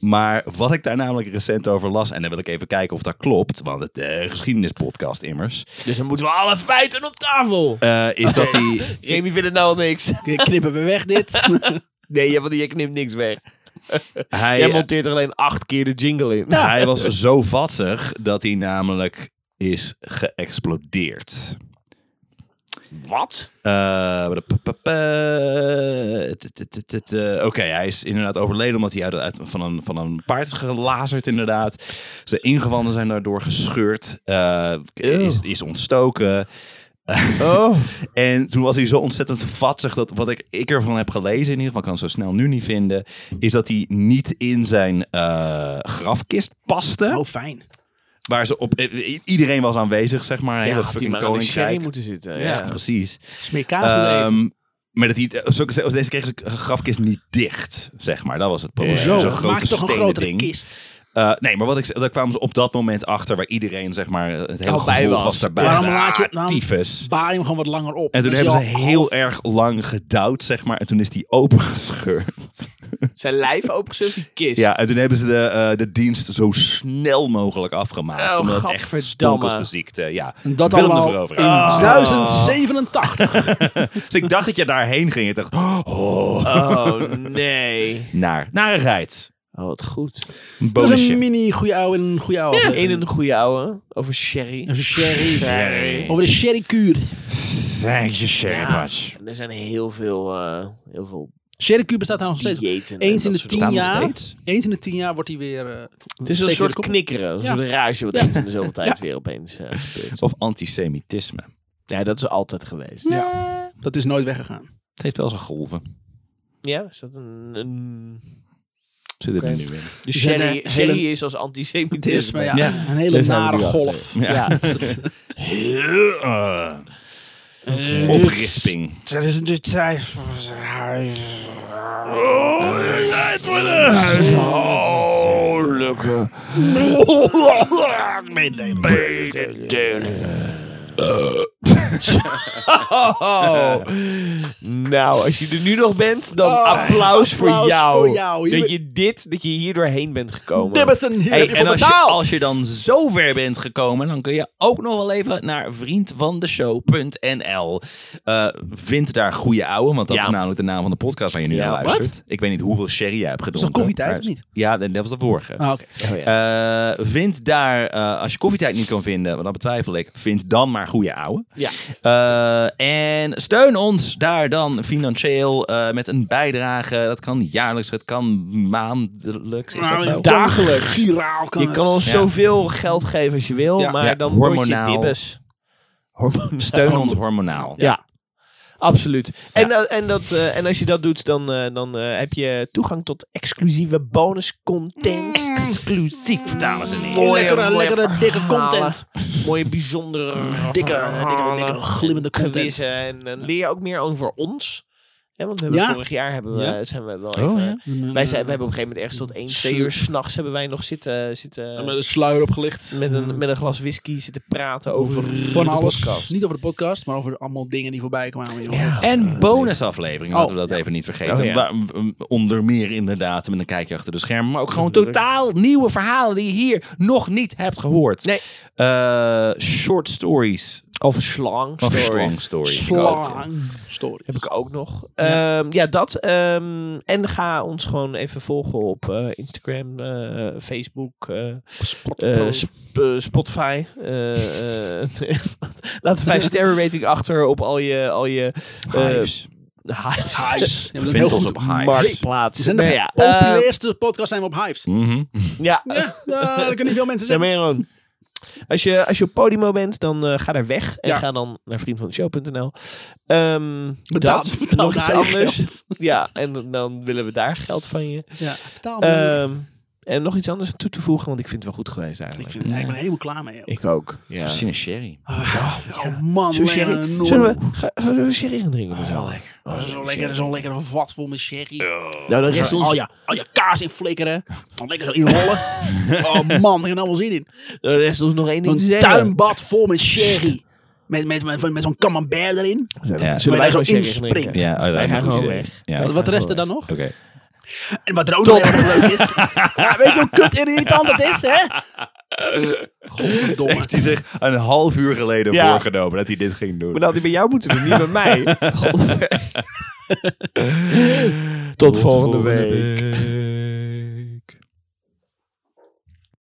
[SPEAKER 2] Maar wat ik daar namelijk recent over las... En dan wil ik even kijken of dat klopt. Want het eh, geschiedenispodcast immers...
[SPEAKER 3] Dus dan moeten we alle feiten op tafel.
[SPEAKER 2] eh, is dat die...
[SPEAKER 3] Remy vindt het nou al niks.
[SPEAKER 1] Knippen we weg dit.
[SPEAKER 3] Nee, jij- want jij knipt niks weg.
[SPEAKER 2] Hij,
[SPEAKER 1] eh,
[SPEAKER 3] Jij monteert er alleen acht keer de jingle in.
[SPEAKER 2] Hij was zo vatzig dat hij namelijk is geëxplodeerd.
[SPEAKER 3] Wat?
[SPEAKER 2] Eh, pa- pa- pa- t- t- t- t- t- eh, Oké, hij is inderdaad overleden omdat hij uit, uit- van, een, van een paard is gelazerd inderdaad. Zijn ingewanden zijn daardoor gescheurd. eh, is, is ontstoken.
[SPEAKER 3] Oh.
[SPEAKER 2] En toen was hij zo ontzettend vatzig dat wat ik, ik ervan heb gelezen, in ieder geval kan het zo snel nu niet vinden, is dat hij niet in zijn eh, grafkist paste.
[SPEAKER 1] Oh, fijn.
[SPEAKER 2] Waar ze op... eh, i- Iedereen was aanwezig, zeg maar. Een hele fucking koninkrijk.
[SPEAKER 3] moeten zitten.
[SPEAKER 2] Ja, precies.
[SPEAKER 1] Smeer kaas met eten.
[SPEAKER 2] Ehm, maar dat hij... Zo, zo- deze kreeg zijn grafkist niet dicht, zeg maar. Dat was het probleem.
[SPEAKER 1] Zo,
[SPEAKER 2] Zo'n
[SPEAKER 1] maak
[SPEAKER 2] grote
[SPEAKER 1] toch een
[SPEAKER 2] stenen
[SPEAKER 1] grotere
[SPEAKER 2] ding.
[SPEAKER 1] kist.
[SPEAKER 2] Eh, nee, maar wat ik, daar kwamen ze op dat moment achter waar iedereen, zeg maar, het hele
[SPEAKER 3] Al bij
[SPEAKER 2] gevoel was.
[SPEAKER 3] was.
[SPEAKER 2] daarbij.
[SPEAKER 1] Waarom laat je het
[SPEAKER 2] Ah,
[SPEAKER 1] nou?
[SPEAKER 2] Tyfus.
[SPEAKER 1] Baar hem gewoon wat langer op.
[SPEAKER 2] En toen
[SPEAKER 1] Dan is
[SPEAKER 2] hebben ze
[SPEAKER 1] hij al
[SPEAKER 2] heel
[SPEAKER 1] half-
[SPEAKER 2] erg lang gedouwd, zeg maar. En toen is die opengescheurd.
[SPEAKER 3] Zijn lijf opengescheurd, die kist.
[SPEAKER 2] Ja, en toen hebben ze de, eh, de dienst zo snel mogelijk afgemaakt.
[SPEAKER 3] Oh,
[SPEAKER 2] omdat het echt stonk als
[SPEAKER 3] gadverdamme.
[SPEAKER 2] de ziekte. Ja.
[SPEAKER 1] En dat
[SPEAKER 2] Willem
[SPEAKER 1] allemaal
[SPEAKER 2] de Veroveraar.
[SPEAKER 1] in
[SPEAKER 2] Ah.
[SPEAKER 1] 1087.
[SPEAKER 2] Dus ik dacht dat je daarheen ging. Ik dacht, oh,
[SPEAKER 3] Oh, nee.
[SPEAKER 2] naar, narigheid.
[SPEAKER 3] Oh, wat goed.
[SPEAKER 2] Een
[SPEAKER 1] Dat is
[SPEAKER 2] bonusje.
[SPEAKER 1] een mini goede ouwe en een goede ouwe.
[SPEAKER 3] In Oh, een goede ouwe. Over sherry.
[SPEAKER 1] Een sherry.
[SPEAKER 3] Sherry.
[SPEAKER 1] Over de sherrykuur.
[SPEAKER 2] Thank you, Sherry
[SPEAKER 3] Ja,
[SPEAKER 2] Patch.
[SPEAKER 3] en er zijn heel veel, eh, heel veel
[SPEAKER 1] Sherrykuur bestaat daar nog steeds.
[SPEAKER 3] diëten. en
[SPEAKER 1] Eens in
[SPEAKER 3] dat
[SPEAKER 1] de
[SPEAKER 3] soort
[SPEAKER 1] tien
[SPEAKER 3] dingen.
[SPEAKER 1] jaar. Eens in de tien jaar wordt hij weer. eh,
[SPEAKER 3] Het is een
[SPEAKER 1] steekt
[SPEAKER 3] soort
[SPEAKER 1] weer de kop.
[SPEAKER 3] knikkeren. Een soort rage wat sinds in de zoveel tijd weer opeens eh, gebeurt.
[SPEAKER 2] Of antisemitisme.
[SPEAKER 3] Ja, dat is altijd geweest.
[SPEAKER 1] Ja. Dat is nooit weggegaan.
[SPEAKER 2] Het heeft wel zijn golven.
[SPEAKER 3] Ja, is dat een... een...
[SPEAKER 2] Zit het
[SPEAKER 3] Oké.
[SPEAKER 2] er nu in.
[SPEAKER 3] Dus
[SPEAKER 1] zijn
[SPEAKER 3] sherry,
[SPEAKER 1] een
[SPEAKER 3] sherry
[SPEAKER 1] hele-
[SPEAKER 3] is als
[SPEAKER 1] Het is
[SPEAKER 3] antisemitisme.
[SPEAKER 1] maar ja,
[SPEAKER 2] Ja.
[SPEAKER 1] een hele
[SPEAKER 2] Daar zijn we
[SPEAKER 1] nare
[SPEAKER 2] nu achter.
[SPEAKER 1] golf.
[SPEAKER 2] Ja.
[SPEAKER 3] Ja.
[SPEAKER 2] Eh,
[SPEAKER 1] Dus-
[SPEAKER 2] Oprisping.
[SPEAKER 6] Huishoudelijke mededelingen.
[SPEAKER 3] Oh. Nou, als je er nu nog bent, dan
[SPEAKER 1] Oh,
[SPEAKER 3] applaus, voor,
[SPEAKER 1] applaus
[SPEAKER 3] jou.
[SPEAKER 1] voor jou. Hier-
[SPEAKER 3] Dat je dit, dat je hier doorheen bent gekomen.
[SPEAKER 1] Dit is een hier
[SPEAKER 2] Hey,
[SPEAKER 1] heb je
[SPEAKER 2] en
[SPEAKER 1] voor
[SPEAKER 2] als je,
[SPEAKER 1] betaald.
[SPEAKER 2] als je dan zo ver bent gekomen, dan kun je ook nog wel even naar vriendvandeshow.nl. Eh vind daar goede ouwe, want dat
[SPEAKER 3] Ja.
[SPEAKER 2] is namelijk de naam van de podcast waar je nu
[SPEAKER 3] Ja,
[SPEAKER 2] naar
[SPEAKER 3] wat?
[SPEAKER 2] luistert. Ik weet niet hoeveel sherry jij hebt gedronken.
[SPEAKER 1] koffietijd
[SPEAKER 2] maar-
[SPEAKER 1] of niet?
[SPEAKER 2] Ja, nee, dat was de vorige.
[SPEAKER 1] Ah, oké.
[SPEAKER 3] Oh ja.
[SPEAKER 2] Eh, vind daar, eh, als je koffietijd niet kan vinden, want dat betwijfel ik, vind dan maar goede ouwe.
[SPEAKER 3] Ja.
[SPEAKER 2] Eh, en steun ons daar dan financieel eh, met een bijdrage. Dat kan jaarlijks, het kan maandelijks.
[SPEAKER 1] Nou,
[SPEAKER 2] Is dat zo?
[SPEAKER 3] dagelijks.
[SPEAKER 1] Giraal kan
[SPEAKER 3] je
[SPEAKER 1] het.
[SPEAKER 3] kan ons
[SPEAKER 2] Ja.
[SPEAKER 3] zoveel geld geven als je wil,
[SPEAKER 1] Ja.
[SPEAKER 3] maar
[SPEAKER 2] Ja,
[SPEAKER 3] dan
[SPEAKER 2] hormonaal.
[SPEAKER 3] word je dibbes.
[SPEAKER 2] Steun ons hormonaal.
[SPEAKER 3] Ja. Absoluut. En, dat- en, dat, eh, en als je dat doet, dan, eh, dan eh, heb je toegang tot exclusieve bonus content.
[SPEAKER 2] Exclusief, dames en heren.
[SPEAKER 3] Mooie,
[SPEAKER 1] lekkere,
[SPEAKER 3] mooie
[SPEAKER 1] lekkere, dikke
[SPEAKER 3] verhalen.
[SPEAKER 1] content.
[SPEAKER 3] Mooie, bijzondere,
[SPEAKER 1] Dikke,
[SPEAKER 3] verhalen.
[SPEAKER 1] dikke, dikke, glimmende content.
[SPEAKER 3] Quizzen. En dan leer je ook meer over ons. Hè, want we hebben
[SPEAKER 1] Ja.
[SPEAKER 3] vorig jaar hebben we, eh,
[SPEAKER 1] Ja.
[SPEAKER 3] zijn we wel
[SPEAKER 2] Oh,
[SPEAKER 3] even-
[SPEAKER 2] ja.
[SPEAKER 3] Wij, zijn, wij hebben op een gegeven moment ergens tot 1, 2 uur s'nachts hebben wij nog zitten, zitten
[SPEAKER 1] Met een sluier opgelicht.
[SPEAKER 3] eh, met, een, met een glas whisky zitten praten over,
[SPEAKER 1] Mm. van
[SPEAKER 3] de
[SPEAKER 1] alles.
[SPEAKER 3] podcast.
[SPEAKER 1] Niet over de podcast, maar over allemaal dingen die voorbij kwamen. joh.
[SPEAKER 2] En bonusaflevering, laten we
[SPEAKER 1] Oh,
[SPEAKER 2] dat even niet vergeten.
[SPEAKER 3] Oh, ja.
[SPEAKER 2] Waar- m- onder meer inderdaad met een kijkje achter de schermen. Maar ook gewoon totaal nieuwe verhalen die je hier nog niet hebt gehoord.
[SPEAKER 3] Nee.
[SPEAKER 2] Eh, short stories.
[SPEAKER 3] Over slang
[SPEAKER 2] Of
[SPEAKER 3] stories.
[SPEAKER 2] long Oh, stories.
[SPEAKER 1] Slang stories.
[SPEAKER 3] Heb ik ook nog. Ehm, Ja, dat. ehm, en ga ons gewoon even volgen op eh, Instagram, eh, Facebook, eh, eh, Sp- eh, Spotify. eh, eh, laat een 5 sterren rating achter op al je, al je eh,
[SPEAKER 2] Hives.
[SPEAKER 3] hives.
[SPEAKER 1] Hives. Ja, we doen
[SPEAKER 2] Vind
[SPEAKER 1] heel
[SPEAKER 2] ons
[SPEAKER 1] goed.
[SPEAKER 2] op Hives.
[SPEAKER 1] We
[SPEAKER 3] Marktplaats.
[SPEAKER 1] zijn de
[SPEAKER 3] Nou ja, eh,
[SPEAKER 1] populairste podcast zijn we op Hives.
[SPEAKER 2] Mhm.
[SPEAKER 3] ja,
[SPEAKER 1] Ja, eh, daar kunnen niet veel mensen
[SPEAKER 3] Zeg
[SPEAKER 1] zeggen.
[SPEAKER 3] maar, Jeroen. Als je, als je op Podimo bent, dan eh, ga daar weg. En
[SPEAKER 1] Ja.
[SPEAKER 3] ga dan naar vriendvandeshow.nl. Ehm
[SPEAKER 1] Betaal-
[SPEAKER 3] dat,
[SPEAKER 1] betaal
[SPEAKER 3] nog iets
[SPEAKER 1] daar je
[SPEAKER 3] anders. Ja, en dan willen we daar geld van je.
[SPEAKER 1] Ja, betaal me.
[SPEAKER 3] Ehm, en nog iets anders aan toe te voegen, want ik vind het wel goed geweest
[SPEAKER 1] ik,
[SPEAKER 3] eigenlijk.
[SPEAKER 1] vind het, ik ben helemaal klaar mee. joh.
[SPEAKER 3] Ik ook. Ja.
[SPEAKER 2] Zin in sherry.
[SPEAKER 1] Oh man,
[SPEAKER 3] Zullen we
[SPEAKER 1] Lena,
[SPEAKER 3] sherry-
[SPEAKER 1] Noor.
[SPEAKER 3] Zullen we, ga, zullen we sherry gaan drinken? met z'n allen?
[SPEAKER 1] Oh, Zo'n lekker, zo'n lekker vat vol met sherry.
[SPEAKER 3] Nou, dan rest
[SPEAKER 1] Zo-
[SPEAKER 2] oh,
[SPEAKER 3] ons,
[SPEAKER 1] Al, je, al je Oh kaas in flikkeren. Dan lekker zo inrollen. oh man, ik heb er nou wel zin in.
[SPEAKER 3] dan rest ons nog één ding te
[SPEAKER 1] Een
[SPEAKER 3] zeggen.
[SPEAKER 1] tuinbad vol met sherry. Met, met, met, met zo'n camembert erin.
[SPEAKER 3] Zullen,
[SPEAKER 1] Waar je
[SPEAKER 3] wij
[SPEAKER 1] zo
[SPEAKER 3] zo
[SPEAKER 1] inspringt.
[SPEAKER 3] inspringen?
[SPEAKER 2] Ja, oh, dat
[SPEAKER 3] Wij
[SPEAKER 2] is
[SPEAKER 3] gaan
[SPEAKER 2] een goed
[SPEAKER 3] gewoon
[SPEAKER 2] idee.
[SPEAKER 3] weg.
[SPEAKER 2] Ja.
[SPEAKER 1] wat wat rest er dan nog?
[SPEAKER 2] Oké.
[SPEAKER 1] En wat er ook nog heel erg leuk is. Ja, weet je hoe kut en irritant dat is, hè? Godverdomme.
[SPEAKER 2] Heeft hij zich een half uur geleden
[SPEAKER 3] Ja.
[SPEAKER 2] voorgenomen dat hij dit ging doen?
[SPEAKER 3] Maar dat had hij bij jou moeten doen, niet bij mij. Godver. Tot volgende week.
[SPEAKER 2] week.